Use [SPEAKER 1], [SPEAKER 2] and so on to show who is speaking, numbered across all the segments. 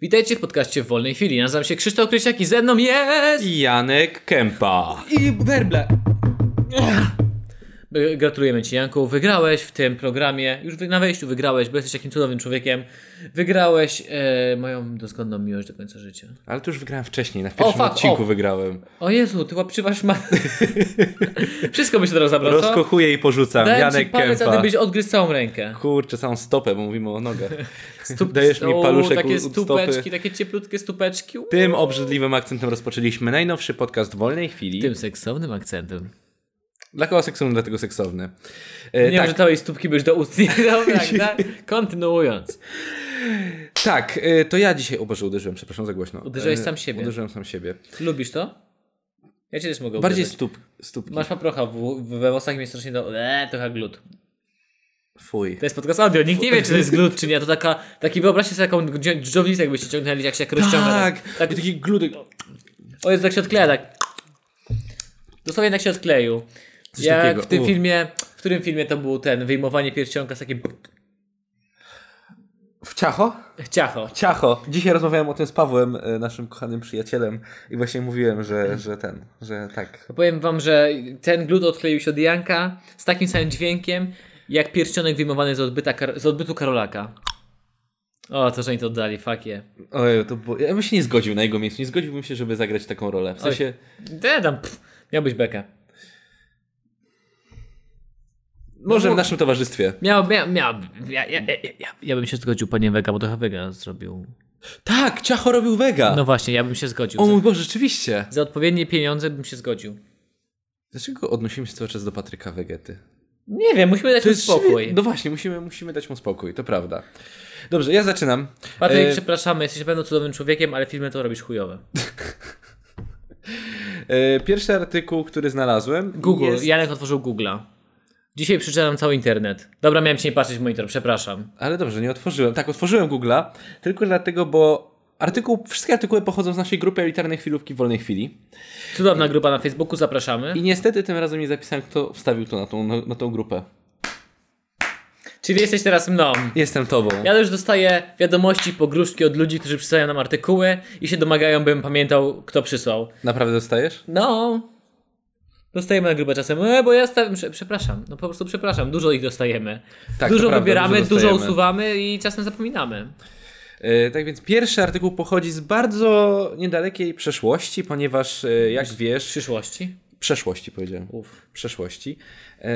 [SPEAKER 1] Witajcie w podcaście w wolnej chwili. Nazywam się Krzysztof Krysiak i ze mną jest...
[SPEAKER 2] Janek Kępa.
[SPEAKER 3] I werble.
[SPEAKER 1] Y, Gratulujemy Ci, Janku. Wygrałeś w tym programie. Już wy- na wejściu wygrałeś, bo jesteś takim cudownym człowiekiem. Wygrałeś e, moją doskonałą miłość do końca życia.
[SPEAKER 2] Ale to już wygrałem wcześniej, na pierwszym
[SPEAKER 1] fuck,
[SPEAKER 2] odcinku
[SPEAKER 1] o.
[SPEAKER 2] wygrałem.
[SPEAKER 1] O Jezu, Ty łapczywasz ma... Wszystko mi się teraz zabrał, No co?
[SPEAKER 2] Rozkochuję i porzucam.
[SPEAKER 1] Dałem Ci
[SPEAKER 2] Janek
[SPEAKER 1] palec, a Ty
[SPEAKER 2] Kępa.
[SPEAKER 1] byś odgryzł całą rękę.
[SPEAKER 2] Kurczę, całą stopę, bo mówimy o nogach.
[SPEAKER 1] Stup...
[SPEAKER 2] Dajesz mi
[SPEAKER 1] O,
[SPEAKER 2] paluszek u-
[SPEAKER 1] Takie
[SPEAKER 2] u stopy.
[SPEAKER 1] stupeczki, takie cieplutkie stupeczki. U.
[SPEAKER 2] Tym obrzydliwym akcentem rozpoczęliśmy najnowszy podcast Wolnej Chwili.
[SPEAKER 1] Tym seksownym akcentem.
[SPEAKER 2] Dla kogo seksowny, dlatego seksowny.
[SPEAKER 1] Nie
[SPEAKER 2] E,
[SPEAKER 1] wiem,
[SPEAKER 2] tak,
[SPEAKER 1] że całej stópki byś do ust nie dał, tak, tak? Kontynuując.
[SPEAKER 2] tak e, to ja dzisiaj... O Boże, uderzyłem, przepraszam za głośno.
[SPEAKER 1] Uderzyłeś
[SPEAKER 2] E,
[SPEAKER 1] sam siebie.
[SPEAKER 2] Uderzyłem sam siebie.
[SPEAKER 1] Lubisz to? Ja cię też mogę
[SPEAKER 2] Bardziej
[SPEAKER 1] uderzyć.
[SPEAKER 2] stóp, stópki.
[SPEAKER 1] Masz paprocha w, w, we włosach i mnie strasznie do... Eee, trochę glut.
[SPEAKER 2] Fuj.
[SPEAKER 1] To jest podcast audio, nikt nie wie, czy to jest glut, czy nie. To taka, taki wyobraźcie sobie taką dżdżownicę, dżdżownicę, jakbyście ciągnęli, jak się jak rozciąga.
[SPEAKER 2] Tak,
[SPEAKER 1] tak,
[SPEAKER 2] I taki glutek.
[SPEAKER 1] O Jezu, tak się odkleja, tak. Dosłownie tak się odkleił.
[SPEAKER 2] Coś
[SPEAKER 1] jak
[SPEAKER 2] takiego,
[SPEAKER 1] w tym
[SPEAKER 2] u.
[SPEAKER 1] filmie, w którym filmie to był ten, wyjmowanie pierścionka z takim
[SPEAKER 2] W ciacho?
[SPEAKER 1] ciacho.
[SPEAKER 2] Ciacho. Dzisiaj rozmawiałem o tym z Pawłem, e, naszym kochanym przyjacielem i właśnie mówiłem, że, że ten, że tak.
[SPEAKER 1] Powiem wam, że ten glut odkleił się od Janka z takim samym dźwiękiem, jak pierścionek wyjmowany z, odbyta, Kar- z odbytu Karolaka. O, to, że oni to oddali, fuck je.
[SPEAKER 2] Ojej, to było... Ja bym się nie zgodził na jego miejscu, nie zgodziłbym się, żeby zagrać taką rolę. W sensie,
[SPEAKER 1] Yeah. dam, pff, miał być beka.
[SPEAKER 2] może w naszym towarzystwie.
[SPEAKER 1] Miał, miał, miał ja, ja, ja, ja, ja bym się zgodził, panie Wega, bo trochę Wega zrobił.
[SPEAKER 2] Tak, Ciacho robił Vega.
[SPEAKER 1] No właśnie, ja bym się zgodził.
[SPEAKER 2] O
[SPEAKER 1] Za,
[SPEAKER 2] mój Boże, rzeczywiście.
[SPEAKER 1] za odpowiednie pieniądze bym się zgodził.
[SPEAKER 2] Dlaczego odnosimy się cały czas do Patryka Wegety?
[SPEAKER 1] Nie wiem, musimy dać mu spokój.
[SPEAKER 2] No właśnie, musimy, musimy dać mu spokój, to prawda. Dobrze, ja zaczynam.
[SPEAKER 1] Patryk,
[SPEAKER 2] E,
[SPEAKER 1] przepraszamy, jesteś na pewno cudownym człowiekiem, ale filmy to robisz chujowe.
[SPEAKER 2] e, pierwszy artykuł, który znalazłem
[SPEAKER 1] Google,
[SPEAKER 2] jest...
[SPEAKER 1] Janek otworzył Google'a. Dzisiaj przeczytałem cały internet. Dobra, miałem cię nie patrzeć w monitor, przepraszam.
[SPEAKER 2] Ale dobrze, nie otworzyłem. Tak, otworzyłem Google'a, tylko dlatego, bo artykuł, wszystkie artykuły pochodzą z naszej grupy elitarnej chwilówki w wolnej chwili.
[SPEAKER 1] Cudowna grupa na Facebooku, zapraszamy.
[SPEAKER 2] I niestety tym razem nie zapisałem, kto wstawił to na tą, na, na tą grupę.
[SPEAKER 1] Czyli jesteś teraz mną.
[SPEAKER 2] Jestem tobą.
[SPEAKER 1] Ja już dostaję wiadomości, pogróżki od ludzi, którzy przysyłają nam artykuły i się domagają, bym pamiętał, kto przysłał.
[SPEAKER 2] Naprawdę dostajesz?
[SPEAKER 1] No. Dostajemy na grupę czasem, e, bo ja stawiam, prze- przepraszam, no po prostu przepraszam, dużo ich dostajemy.
[SPEAKER 2] Tak,
[SPEAKER 1] dużo
[SPEAKER 2] to prawda,
[SPEAKER 1] wybieramy,
[SPEAKER 2] dużo
[SPEAKER 1] dużo,
[SPEAKER 2] dostajemy.
[SPEAKER 1] usuwamy i czasem zapominamy.
[SPEAKER 2] E, tak więc pierwszy artykuł pochodzi z bardzo niedalekiej przeszłości, ponieważ e, jak
[SPEAKER 1] W
[SPEAKER 2] wiesz...
[SPEAKER 1] przyszłości.
[SPEAKER 2] Przeszłości powiedziałem.
[SPEAKER 1] Uf.
[SPEAKER 2] Przeszłości. E,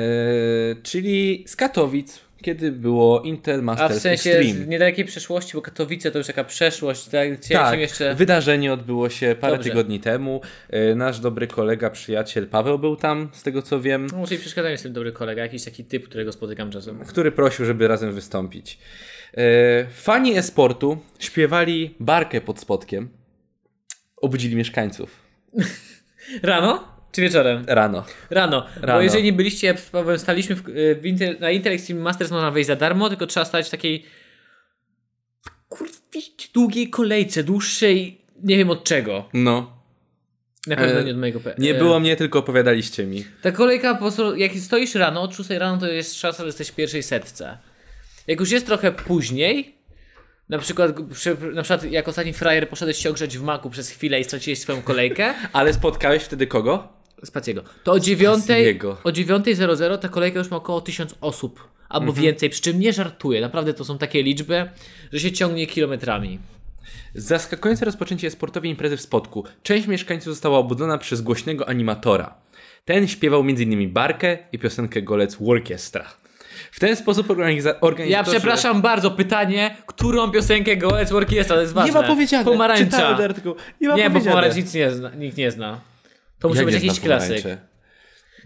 [SPEAKER 2] czyli z Katowic, kiedy było Intel
[SPEAKER 1] A
[SPEAKER 2] Masters
[SPEAKER 1] w sensie
[SPEAKER 2] Extreme.
[SPEAKER 1] z niedalekiej przeszłości, bo Katowice to już taka przeszłość, tak? Chciałem
[SPEAKER 2] Tak,
[SPEAKER 1] się jeszcze...
[SPEAKER 2] wydarzenie odbyło się parę
[SPEAKER 1] Dobrze.
[SPEAKER 2] tygodni temu. E, Nasz dobry kolega, przyjaciel Paweł był tam, z tego co wiem,
[SPEAKER 1] No, Może i przeszkadza mi z tym dobry kolega, jakiś taki typ, którego spotykam czasem.
[SPEAKER 2] który prosił, żeby razem wystąpić. E, Fani e-sportu śpiewali barkę pod spodkiem. Obudzili mieszkańców
[SPEAKER 1] Rano? Czy wieczorem?
[SPEAKER 2] rano.
[SPEAKER 1] Rano. Bo
[SPEAKER 2] Rano.
[SPEAKER 1] jeżeli nie byliście, jak z Pawłem staliśmy w, y, w Inter, na Intel Extreme Masters można wejść za darmo, tylko trzeba stać w takiej kurwić długiej kolejce, dłuższej, nie wiem od czego.
[SPEAKER 2] No,
[SPEAKER 1] Na pewno
[SPEAKER 2] E,
[SPEAKER 1] nie od mojego pe-
[SPEAKER 2] nie
[SPEAKER 1] e,
[SPEAKER 2] było mnie, tylko opowiadaliście mi.
[SPEAKER 1] Ta kolejka, po prostu, jak stoisz rano, od 6 rano to jest szansa, że jesteś w pierwszej setce. Jak już jest trochę później, na przykład, przy- na przykład jak ostatni frajer poszedłeś się ogrzeć w maku przez chwilę i straciłeś swoją kolejkę,
[SPEAKER 2] Ale spotkałeś wtedy kogo?
[SPEAKER 1] Spacjego. To o dziewiątej,
[SPEAKER 2] Spacjego.
[SPEAKER 1] o 9.00 ta kolejka już ma około 1000 osób albo
[SPEAKER 2] Mhm.
[SPEAKER 1] więcej, przy czym nie żartuję. Naprawdę to są takie liczby, że się ciągnie kilometrami.
[SPEAKER 2] Zaskakujące rozpoczęcie sportowej imprezy w Spodku. Część mieszkańców została obudzona przez głośnego animatora. Ten śpiewał m.in. barkę i piosenkę Golec Orkiestra. W ten sposób organiza- organizatorzy...
[SPEAKER 1] Ja przepraszam bardzo, pytanie, którą piosenkę Goes Orkiestra, to jest ważne.
[SPEAKER 2] Nie ma powiedziane.
[SPEAKER 1] Pomarańcza.
[SPEAKER 2] Czytałem ten artykuł. Nie ma
[SPEAKER 1] Nie, bo
[SPEAKER 2] powiedziane.
[SPEAKER 1] pomarańcz nic nie zna, nikt nie zna. To musi
[SPEAKER 2] Jak
[SPEAKER 1] być
[SPEAKER 2] nie
[SPEAKER 1] jakiś
[SPEAKER 2] znam
[SPEAKER 1] klasyk.
[SPEAKER 2] pomarańczy?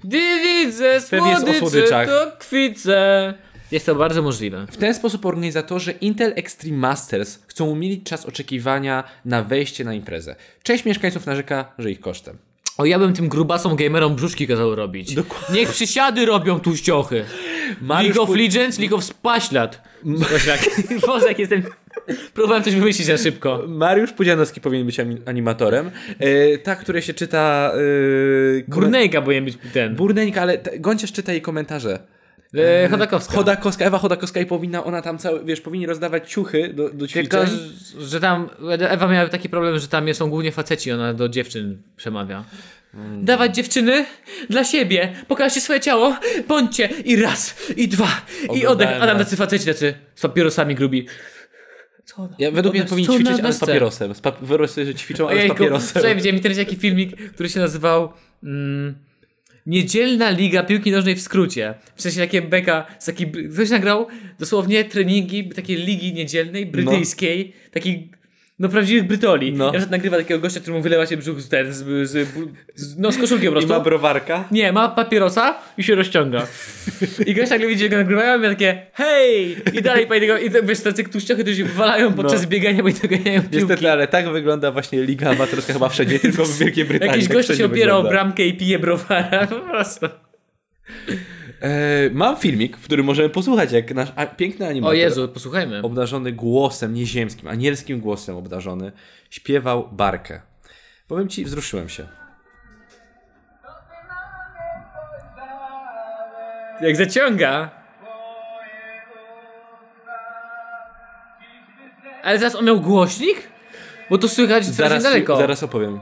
[SPEAKER 1] Gdy widzę
[SPEAKER 2] Pewnie jest o
[SPEAKER 1] słodycze,
[SPEAKER 2] słodyczach.
[SPEAKER 1] to kwice. Jest to bardzo możliwe.
[SPEAKER 2] W ten sposób organizatorzy Intel Extreme Masters chcą umilić czas oczekiwania na wejście na imprezę. Część mieszkańców narzeka, że ich kosztem.
[SPEAKER 1] O, ja bym tym grubasom gamerom brzuszki kazał robić.
[SPEAKER 2] Dokładnie.
[SPEAKER 1] Niech przysiady robią tuściochy. League of
[SPEAKER 2] Pu-
[SPEAKER 1] Legends, League of Spaślat. Spaślak. Boże, jak jestem... Próbowałem coś wymyślić na szybko.
[SPEAKER 2] Mariusz Pudzianowski powinien być ani- animatorem. E, ta, która się czyta... E,
[SPEAKER 1] Górnejka powinien być ten.
[SPEAKER 2] Burneńka, ale te, Gonciarz czyta jej komentarze.
[SPEAKER 1] E, Chodakowska.
[SPEAKER 2] Chodakowska, Ewa Chodakowska i powinna, ona tam cały, wiesz, powinni rozdawać ciuchy do, do ćwiczeń.
[SPEAKER 1] Tylko, że- że tam Ewa miała taki problem, że tam są głównie faceci, ona do dziewczyn przemawia.
[SPEAKER 2] Mm.
[SPEAKER 1] Dawać dziewczyny dla siebie, pokażcie swoje ciało, bądźcie i raz, i dwa, i
[SPEAKER 2] Oglądałem
[SPEAKER 1] oddech. A tam
[SPEAKER 2] raz.
[SPEAKER 1] tacy faceci tacy z papierosami grubi. Co ona?
[SPEAKER 2] Ja, według mnie
[SPEAKER 1] Ona-
[SPEAKER 2] powinni
[SPEAKER 1] co ona
[SPEAKER 2] ćwiczyć, ale z
[SPEAKER 1] desce?
[SPEAKER 2] papierosem. Z pap- Wyobraź sobie, że ćwiczą, ale z
[SPEAKER 1] Ojejku, wczoraj
[SPEAKER 2] papierosem.
[SPEAKER 1] widziałem w internecie taki filmik, który się nazywał mm, Niedzielna Liga Piłki Nożnej w skrócie. W sensie takie beka, z taki, ktoś nagrał dosłownie treningi takiej ligi niedzielnej, brytyjskiej, takiej no prawdziwych Brytoli.
[SPEAKER 2] No.
[SPEAKER 1] Ja przykład nagrywa takiego gościa, któremu wylewa się brzuch z ten, z, z, z, no z koszulki po
[SPEAKER 2] I
[SPEAKER 1] prostu.
[SPEAKER 2] ma browarka.
[SPEAKER 1] Nie, ma papierosa i się rozciąga. I gość nagle widzi, jak go nagrywają i ma takie hej! I dalej pani tego, i te- wiesz, tacy tuściochy, którzy się wywalają
[SPEAKER 2] No.
[SPEAKER 1] podczas biegania, bo i doganiają piłki.
[SPEAKER 2] Niestety, ale tak wygląda właśnie liga amatorska chyba wszędzie, tylko w Wielkiej Brytanii.
[SPEAKER 1] Jakiś
[SPEAKER 2] tak
[SPEAKER 1] gość
[SPEAKER 2] wszędzie
[SPEAKER 1] się opiera o
[SPEAKER 2] wygląda.
[SPEAKER 1] bramkę i pije browara. Po prostu.
[SPEAKER 2] E, mam filmik, w którym możemy posłuchać, jak nasz a, piękny animator,
[SPEAKER 1] O Jezu, posłuchajmy.
[SPEAKER 2] obdarzony głosem nieziemskim, anielskim głosem obdarzony, śpiewał barkę. Powiem ci, wzruszyłem się.
[SPEAKER 1] Jak zaciąga. Ale zaraz on miał głośnik? Bo to słychać strasznie
[SPEAKER 2] Zaraz,
[SPEAKER 1] daleko.
[SPEAKER 2] zaraz opowiem.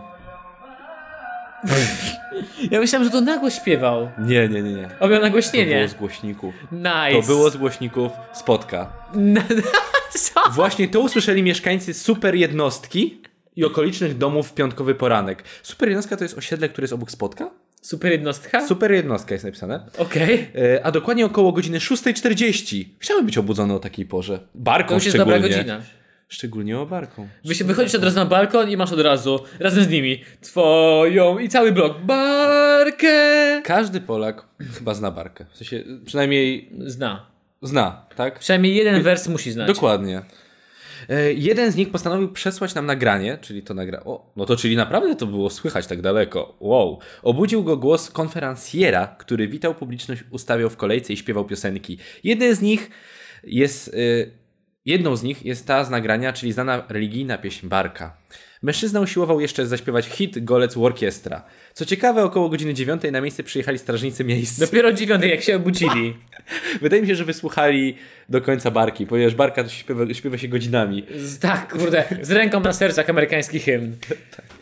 [SPEAKER 1] Ja myślałem, że to nagło śpiewał.
[SPEAKER 2] Nie, nie, nie, nie.
[SPEAKER 1] On miał
[SPEAKER 2] To było
[SPEAKER 1] nagłośnienie.
[SPEAKER 2] z głośników.
[SPEAKER 1] Nice.
[SPEAKER 2] To było z głośników Spotka.
[SPEAKER 1] Co?
[SPEAKER 2] Właśnie to usłyszeli mieszkańcy super jednostki i okolicznych domów w piątkowy poranek. Super jednostka to jest osiedle, które jest obok Spotka?
[SPEAKER 1] Super jednostka?
[SPEAKER 2] Super jednostka jest napisane.
[SPEAKER 1] Okej.
[SPEAKER 2] E, A dokładnie około godziny 6.40. Chciałem być obudzony o takiej porze. Barką
[SPEAKER 1] To już jest
[SPEAKER 2] szczególnie.
[SPEAKER 1] dobra godzina.
[SPEAKER 2] Szczególnie o barką.
[SPEAKER 1] Wy się wychodzisz od razu na balkon i masz od razu, razem z nimi, twoją i cały blok. Barkę!
[SPEAKER 2] Każdy Polak chyba zna barkę. W sensie przynajmniej
[SPEAKER 1] Zna.
[SPEAKER 2] zna, tak?
[SPEAKER 1] Przynajmniej jeden wers musi znać.
[SPEAKER 2] Dokładnie. E, Jeden z nich postanowił przesłać nam nagranie, czyli to nagra... O, no to czyli naprawdę to było słychać tak daleko. Wow. Obudził go głos konferencjera, który witał publiczność, ustawiał w kolejce i śpiewał piosenki. Jeden z nich jest... y, jedną z nich jest ta z nagrania, czyli znana religijna pieśń Barka. Mężczyzna usiłował jeszcze zaśpiewać hit Golec Orkiestra. Co ciekawe, około godziny 9 na miejsce przyjechali strażnicy miejsc.
[SPEAKER 1] Dopiero o dziewiątej, jak się obudzili.
[SPEAKER 2] Wydaje mi się, że wysłuchali do końca Barki, ponieważ Barka śpiewa, śpiewa się godzinami.
[SPEAKER 1] Z, tak, kurde, z ręką na sercach amerykański hymn.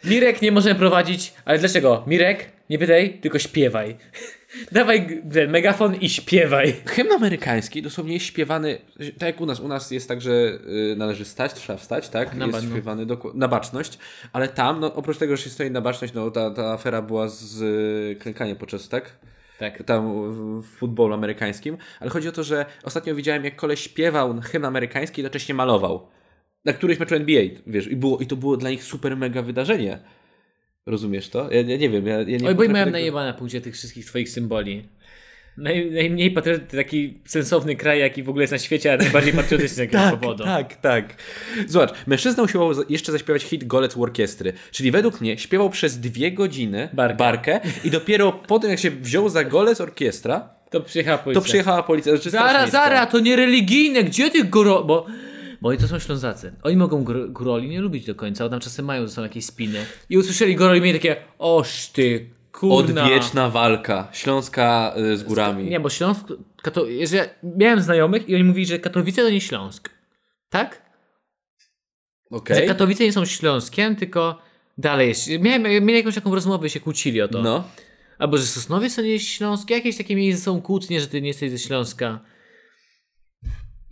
[SPEAKER 1] Mirek nie możemy prowadzić, ale dlaczego? Mirek, nie pytaj, tylko śpiewaj. Dawaj g- ten megafon i śpiewaj.
[SPEAKER 2] Hymn amerykański dosłownie jest śpiewany, tak jak u nas, u nas jest tak, że y, należy stać, trzeba wstać, tak?
[SPEAKER 1] Na
[SPEAKER 2] jest
[SPEAKER 1] baczność.
[SPEAKER 2] śpiewany doku- na baczność, ale tam, no, oprócz tego, że się stoi na baczność, no ta, ta afera była z y, klękaniem podczas, tak?
[SPEAKER 1] Tak.
[SPEAKER 2] Tam w, w futbolu amerykańskim, ale chodzi o to, że ostatnio widziałem, jak koleś śpiewał hymn amerykański i jednocześnie malował. Na któryś meczu NBA, wiesz, i, było, i to było dla nich super mega wydarzenie. Rozumiesz to? Ja, ja nie wiem, ja, ja nie
[SPEAKER 1] Oj, bo i
[SPEAKER 2] potrafię
[SPEAKER 1] miałem
[SPEAKER 2] tego-
[SPEAKER 1] najebane punkcie tych wszystkich twoich symboli. Naj, najmniej patriotyczny, taki sensowny kraj, jaki w ogóle jest na świecie, a najbardziej patriotyczny z jakiegoś
[SPEAKER 2] Tak,
[SPEAKER 1] powodu.
[SPEAKER 2] tak, tak. Zobacz, mężczyzna usiłował za- jeszcze zaśpiewać hit Golec Orkiestry, czyli według mnie śpiewał przez dwie godziny
[SPEAKER 1] Barkę.
[SPEAKER 2] barkę i dopiero po tym, jak się wziął za Golec Orkiestra,
[SPEAKER 1] To przyjechała policja.
[SPEAKER 2] to przyjechała policja. Znaczy
[SPEAKER 1] Zara,
[SPEAKER 2] strażnictwo.
[SPEAKER 1] zara, to niereligijne, gdzie ty gro... Bo, bo oni to są Ślązacy. Oni mogą gr- groli nie lubić do końca, bo tam czasem mają ze sobą jakieś spiny. I usłyszeli groli i mieli takie, oż ty, kurna.
[SPEAKER 2] Odwieczna walka Śląska y, z górami.
[SPEAKER 1] Nie, bo Śląsk... Kato... że Ja miałem znajomych i oni mówili, że Katowice to nie Śląsk. Tak? Że
[SPEAKER 2] Okej.
[SPEAKER 1] Katowice nie są Śląskiem, tylko dalej jest... Miałem, mieli jakąś taką rozmowę i się kłócili o to.
[SPEAKER 2] No.
[SPEAKER 1] Albo że Sosnowiec to nie jest Śląsk. Jakieś takie miejsca są kłótnie, że ty nie jesteś ze Śląska.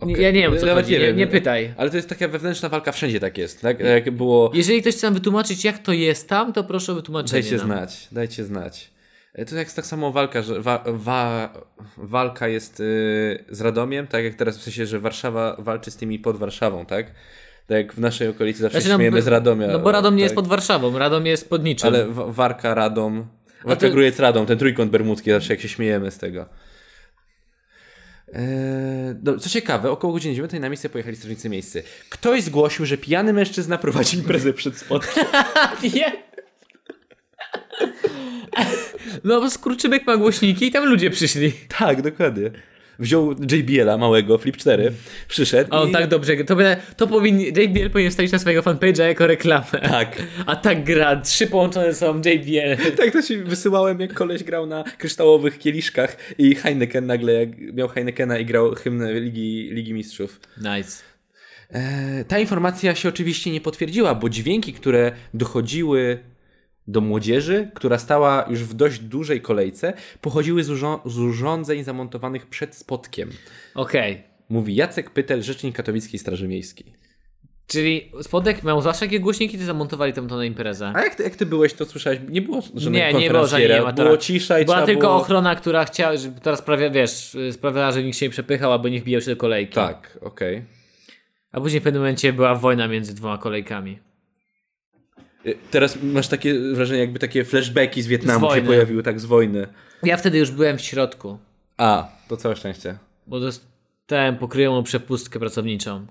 [SPEAKER 1] Nie-
[SPEAKER 2] Okej.
[SPEAKER 1] Ja nie wiem, o co
[SPEAKER 2] Nawet
[SPEAKER 1] chodzi. Nie,
[SPEAKER 2] wiem.
[SPEAKER 1] nie pytaj.
[SPEAKER 2] Ale to jest taka wewnętrzna walka, wszędzie tak jest. Tak? Jak było...
[SPEAKER 1] Jeżeli ktoś chce nam wytłumaczyć, jak to jest tam, to proszę o wytłumaczenie.
[SPEAKER 2] Dajcie
[SPEAKER 1] nam.
[SPEAKER 2] znać, dajcie znać. E, To jak tak samo walka, że wa, wa, walka jest y, z Radomiem, tak jak teraz w sensie, że Warszawa walczy z tymi pod Warszawą, tak? Tak jak w naszej okolicy zawsze
[SPEAKER 1] no,
[SPEAKER 2] śmiejemy
[SPEAKER 1] bo-
[SPEAKER 2] z Radomia.
[SPEAKER 1] No bo Radom nie
[SPEAKER 2] tak?
[SPEAKER 1] jest pod Warszawą, Radom jest pod niczym.
[SPEAKER 2] Ale wa, Warka, Radom, Warka
[SPEAKER 1] to-
[SPEAKER 2] gruje z Radom, ten trójkąt bermudzki, zawsze jak się śmiejemy z tego. E, do- Co ciekawe, około godziny 9 na miejsce pojechali strażnicy miejscy. Ktoś zgłosił, że pijany mężczyzna prowadzi imprezę przed spotkiem.
[SPEAKER 1] Nie. No bo Skurczybyk ma głośniki i tam ludzie przyszli.
[SPEAKER 2] tak, dokładnie. wziął JBL-a małego, Flip 4, przyszedł
[SPEAKER 1] O,
[SPEAKER 2] i...
[SPEAKER 1] tak dobrze. To, powinien- to powinien, JBL powinien wstawić na swojego fanpage'a jako reklamę.
[SPEAKER 2] Tak.
[SPEAKER 1] A tak gra, trzy połączone są JBL.
[SPEAKER 2] Tak to się wysyłałem, jak koleś grał na kryształowych kieliszkach i Heineken nagle jak miał Heinekena i grał hymn Ligi, Ligi Mistrzów.
[SPEAKER 1] Nice.
[SPEAKER 2] E, Ta informacja się oczywiście nie potwierdziła, bo dźwięki, które dochodziły do młodzieży, która stała już w dość dużej kolejce, pochodziły z, urząd- z urządzeń zamontowanych przed spotkiem.
[SPEAKER 1] Okej.
[SPEAKER 2] Mówi Jacek Pytel, rzecznik Katowickiej Straży Miejskiej.
[SPEAKER 1] Czyli Spodek miał zawsze jakie głośniki, ty zamontowali tam to na imprezę?
[SPEAKER 2] A jak ty, jak ty byłeś, to słyszałeś? Nie było żadnego
[SPEAKER 1] Nie, nie było, że nie
[SPEAKER 2] konferencjera.
[SPEAKER 1] ma tak.
[SPEAKER 2] Było cisza i
[SPEAKER 1] Była
[SPEAKER 2] trzeba
[SPEAKER 1] tylko
[SPEAKER 2] było...
[SPEAKER 1] ochrona, która chciała, że teraz prawie, wiesz, y, sprawiała, że nikt się nie przepychał, albo nie wbijał się do kolejki.
[SPEAKER 2] Tak, okej.
[SPEAKER 1] A później w pewnym momencie była wojna między dwoma kolejkami.
[SPEAKER 2] Y, Teraz masz takie wrażenie, jakby takie flashbacki z Wietnamu
[SPEAKER 1] Z
[SPEAKER 2] się
[SPEAKER 1] wojny.
[SPEAKER 2] pojawiły, tak z wojny.
[SPEAKER 1] Ja wtedy już byłem w środku,
[SPEAKER 2] A, to całe szczęście.
[SPEAKER 1] bo dostałem pokryjomą przepustkę pracowniczą.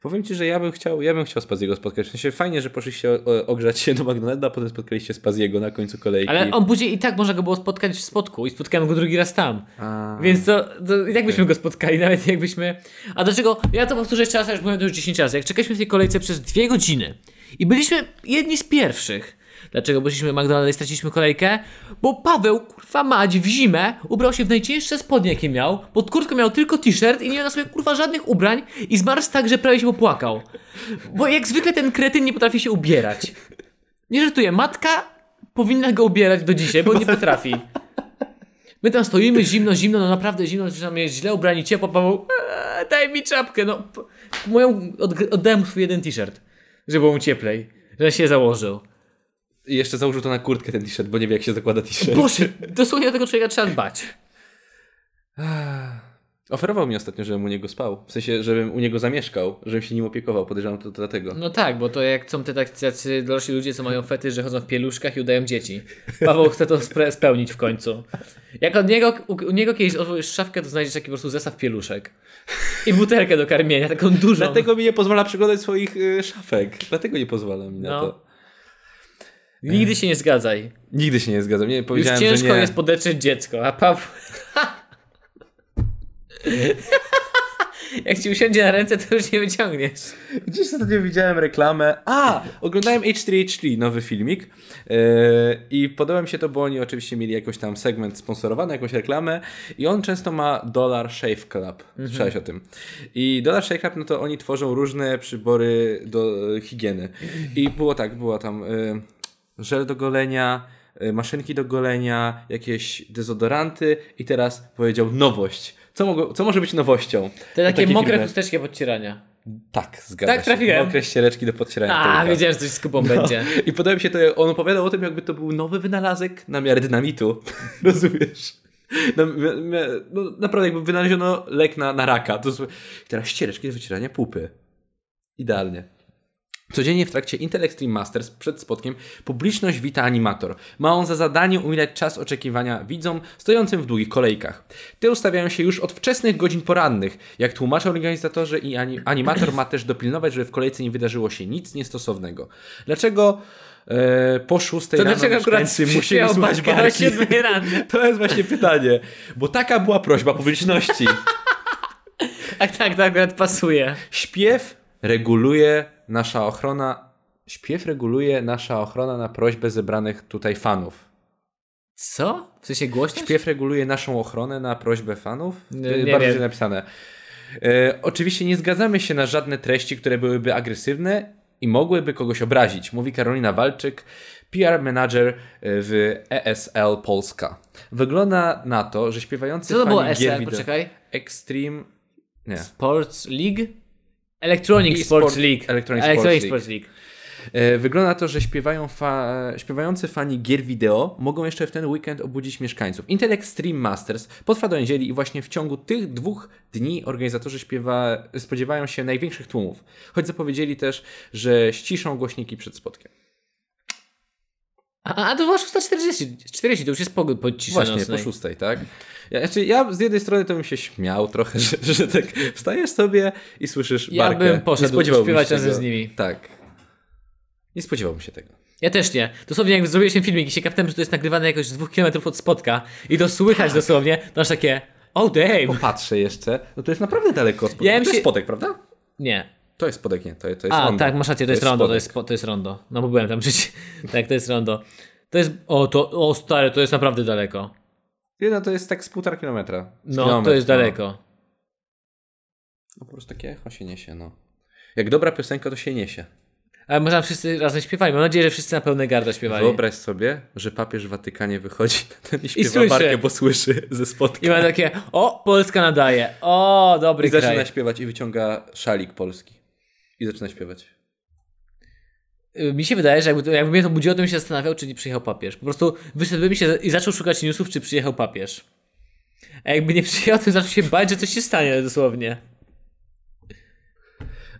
[SPEAKER 2] Powiem ci, że ja bym chciał, ja bym chciał Spaziego spotkać. W sensie fajnie, że poszliście o- o- ogrzać się do McDonalda, a potem spotkaliście Spaziego na końcu kolejki.
[SPEAKER 1] Ale on później i tak można go było spotkać w spotku i spotkałem go drugi raz tam.
[SPEAKER 2] A...
[SPEAKER 1] Więc to, to i tak byśmy go spotkali, nawet jakbyśmy. A dlaczego? Ja to powtórzę jeszcze raz, ja już mówiłem to już 10 razy. Jak czekaliśmy w tej kolejce przez dwie godziny i byliśmy jedni z pierwszych. Dlaczego poszliśmy do McDonalda i straciliśmy kolejkę? Bo Paweł, kurwa mać, w zimę ubrał się w najcięższe spodnie, jakie miał, pod kurtką miał tylko t-shirt i nie miał na sobie kurwa żadnych ubrań i zmarł tak, że prawie się popłakał. Bo jak zwykle ten kretyn nie potrafi się ubierać. Nie żartuję, matka powinna go ubierać do dzisiaj, bo nie potrafi. My tam stoimy, zimno, zimno, no naprawdę zimno, że tam jest źle ubrani, ciepło, Paweł, "Eee, daj mi czapkę, no. p- Moją, od, oddałem swój jeden t-shirt, żeby było mu cieplej, że się założył.
[SPEAKER 2] I jeszcze założył to na kurtkę ten t-shirt, bo nie wie jak się zakłada t-shirt.
[SPEAKER 1] Boże, dosłownie o tego człowieka trzeba dbać.
[SPEAKER 2] Oferował mi ostatnio, żebym u niego spał. W sensie, żebym u niego zamieszkał, żebym się nim opiekował. Podejrzewam to dlatego.
[SPEAKER 1] No tak, bo to jak są te tak- tacy dorośli ludzie, co mają fety, że chodzą w pieluszkach i udają dzieci. Paweł chce to spre- spełnić w końcu. Jak od niego, u, u niego kiedyś otworzysz szafkę, to znajdziesz taki po prostu zestaw pieluszek. I butelkę do karmienia, taką dużą.
[SPEAKER 2] Dlatego mi nie pozwala przeglądać swoich y, szafek. Dlatego nie pozwala mi na
[SPEAKER 1] No.
[SPEAKER 2] to.
[SPEAKER 1] Nigdy się nie zgadzaj.
[SPEAKER 2] Nigdy się nie zgadzam. Nie,
[SPEAKER 1] Już
[SPEAKER 2] powiedziałem,
[SPEAKER 1] ciężko
[SPEAKER 2] że nie.
[SPEAKER 1] jest podeczyć dziecko, a Paweł... Jak ci usiądzie na ręce, to już nie wyciągniesz.
[SPEAKER 2] Gdzieś ostatnio widziałem reklamę. A! Oglądałem H3H3, nowy filmik. Yy, I podoba mi się to, bo oni oczywiście mieli jakoś tam segment sponsorowany, jakąś reklamę. I on często ma Dollar Shave Club.
[SPEAKER 1] Mhm.
[SPEAKER 2] Słyszałeś o tym. I Dollar Shave Club, no to oni tworzą różne przybory do e, higieny. I było tak, było tam yy, żel do golenia. e, Maszynki do golenia, jakieś dezodoranty, i teraz powiedział nowość. Co, mogło, co może być nowością?
[SPEAKER 1] Te takie mokre
[SPEAKER 2] firmy.
[SPEAKER 1] chusteczki podcierania.
[SPEAKER 2] Tak, zgadza
[SPEAKER 1] Tak
[SPEAKER 2] się.
[SPEAKER 1] trafiłem.
[SPEAKER 2] Mokre ściereczki do podcierania
[SPEAKER 1] A,
[SPEAKER 2] tyłka.
[SPEAKER 1] wiedziałem, że coś z kupą
[SPEAKER 2] No.
[SPEAKER 1] będzie.
[SPEAKER 2] I podoba mi się to, jak on opowiadał o tym, jakby to był nowy wynalazek na miarę dynamitu. Rozumiesz? Na, mi- mi- no, naprawdę, jakby wynaleziono lek na, na raka. To, zły- I teraz ściereczki do wycierania pupy. Idealnie. Codziennie w trakcie Intel Extreme Masters przed spotkiem publiczność wita animator. Ma on za zadanie umilać czas oczekiwania widzom stojącym w długich kolejkach. Te ustawiają się już od wczesnych godzin porannych. Jak tłumaczą organizatorzy i ani- animator ma też dopilnować, żeby w kolejce nie wydarzyło się nic niestosownego. Dlaczego e, po szóstej
[SPEAKER 1] To
[SPEAKER 2] rano
[SPEAKER 1] dlaczego akurat
[SPEAKER 2] mieszkańcy musieli
[SPEAKER 1] śpiewał
[SPEAKER 2] słuchać
[SPEAKER 1] Barka o
[SPEAKER 2] barki?
[SPEAKER 1] 7 rano?
[SPEAKER 2] To jest właśnie pytanie, bo taka była prośba publiczności.
[SPEAKER 1] Tak, tak, to akurat pasuje.
[SPEAKER 2] Śpiew reguluje nasza ochrona. Śpiew reguluje nasza ochrona na prośbę zebranych tutaj fanów.
[SPEAKER 1] Co? W sensie głośność?
[SPEAKER 2] Śpiew reguluje naszą ochronę na prośbę fanów?
[SPEAKER 1] Nie,
[SPEAKER 2] Y,
[SPEAKER 1] nie
[SPEAKER 2] Bardzo
[SPEAKER 1] wiem.
[SPEAKER 2] źle napisane. E, oczywiście nie zgadzamy się na żadne treści, które byłyby agresywne i mogłyby kogoś obrazić, mówi Karolina Walczyk, PR manager e, w ESL Polska. Wygląda na to, że śpiewający
[SPEAKER 1] Co to
[SPEAKER 2] fani
[SPEAKER 1] było
[SPEAKER 2] gier
[SPEAKER 1] SL?
[SPEAKER 2] wideo-
[SPEAKER 1] Poczekaj.
[SPEAKER 2] Extreme... Nie.
[SPEAKER 1] Sports League? Electronic
[SPEAKER 2] E-sport-
[SPEAKER 1] Sports League.
[SPEAKER 2] Electronic Sports
[SPEAKER 1] Sports League.
[SPEAKER 2] E, Wygląda na to, że śpiewają fa... śpiewający fani gier wideo mogą jeszcze w ten weekend obudzić mieszkańców. Intel Extreme Masters potrwa do niedzieli i właśnie w ciągu tych dwóch dni organizatorzy śpiewa... spodziewają się największych tłumów. Choć zapowiedzieli też, że ściszą głośniki przed spotkiem.
[SPEAKER 1] A, a to była 6.40. 40 to już jest pogód pod ciszy
[SPEAKER 2] Właśnie,
[SPEAKER 1] nocnej.
[SPEAKER 2] po szóstej, tak? Ja, znaczy, ja z jednej strony to bym się śmiał trochę, że, że tak wstajesz sobie i słyszysz
[SPEAKER 1] Ja
[SPEAKER 2] barkę.
[SPEAKER 1] bym
[SPEAKER 2] Nie
[SPEAKER 1] poszedł
[SPEAKER 2] spodziewałbym się
[SPEAKER 1] śpiewać razem
[SPEAKER 2] tego.
[SPEAKER 1] z nimi.
[SPEAKER 2] Tak. Nie spodziewałbym się tego.
[SPEAKER 1] Ja też nie. Dosłownie jak
[SPEAKER 2] Tak.
[SPEAKER 1] zrobiłeś ten filmik i się kaptem, że to jest nagrywane jakoś z dwóch kilometrów od spotka i to słychać dosłownie, to aż takie... Oh damn!
[SPEAKER 2] Popatrzę jeszcze. No to jest naprawdę daleko od spodu.
[SPEAKER 1] Ja bym
[SPEAKER 2] to jest
[SPEAKER 1] się-
[SPEAKER 2] spodek, prawda?
[SPEAKER 1] Nie.
[SPEAKER 2] To jest spodek, nie. To, to jest
[SPEAKER 1] A,
[SPEAKER 2] rondo.
[SPEAKER 1] tak, masz rację, to jest rondo, to
[SPEAKER 2] spodek.
[SPEAKER 1] jest, po- to jest rondo. No bo byłem tam przecież. tak, to jest rondo. To jest, o to, o stary, to jest naprawdę daleko.
[SPEAKER 2] Nie, no to jest tak z półtora kilometra. Z
[SPEAKER 1] No,
[SPEAKER 2] kilometr,
[SPEAKER 1] to jest daleko.
[SPEAKER 2] No po prostu takie echo się niesie, no. Jak dobra piosenka, to się niesie.
[SPEAKER 1] Ale może tam wszyscy razem śpiewali. Mam nadzieję, że wszyscy na pełne garda śpiewali.
[SPEAKER 2] Wyobraź sobie, że papież w Watykanie wychodzi na ten i śpiewa
[SPEAKER 1] słyszy.
[SPEAKER 2] barkę, bo słyszy ze
[SPEAKER 1] I
[SPEAKER 2] spotka.
[SPEAKER 1] ma takie, o, Polska nadaje, o, dobry
[SPEAKER 2] I zaczyna
[SPEAKER 1] kraj.
[SPEAKER 2] śpiewać i wyciąga szalik polski. I zaczyna śpiewać.
[SPEAKER 1] Y, Mi się wydaje, że jakby, to, jakby mnie to budziło, to bym się zastanawiał, czy nie przyjechał papież. Po prostu wyszedłbym się i zaczął szukać newsów, czy przyjechał papież. A jakby nie przyjechał, to zaczął się bać, że coś się stanie dosłownie.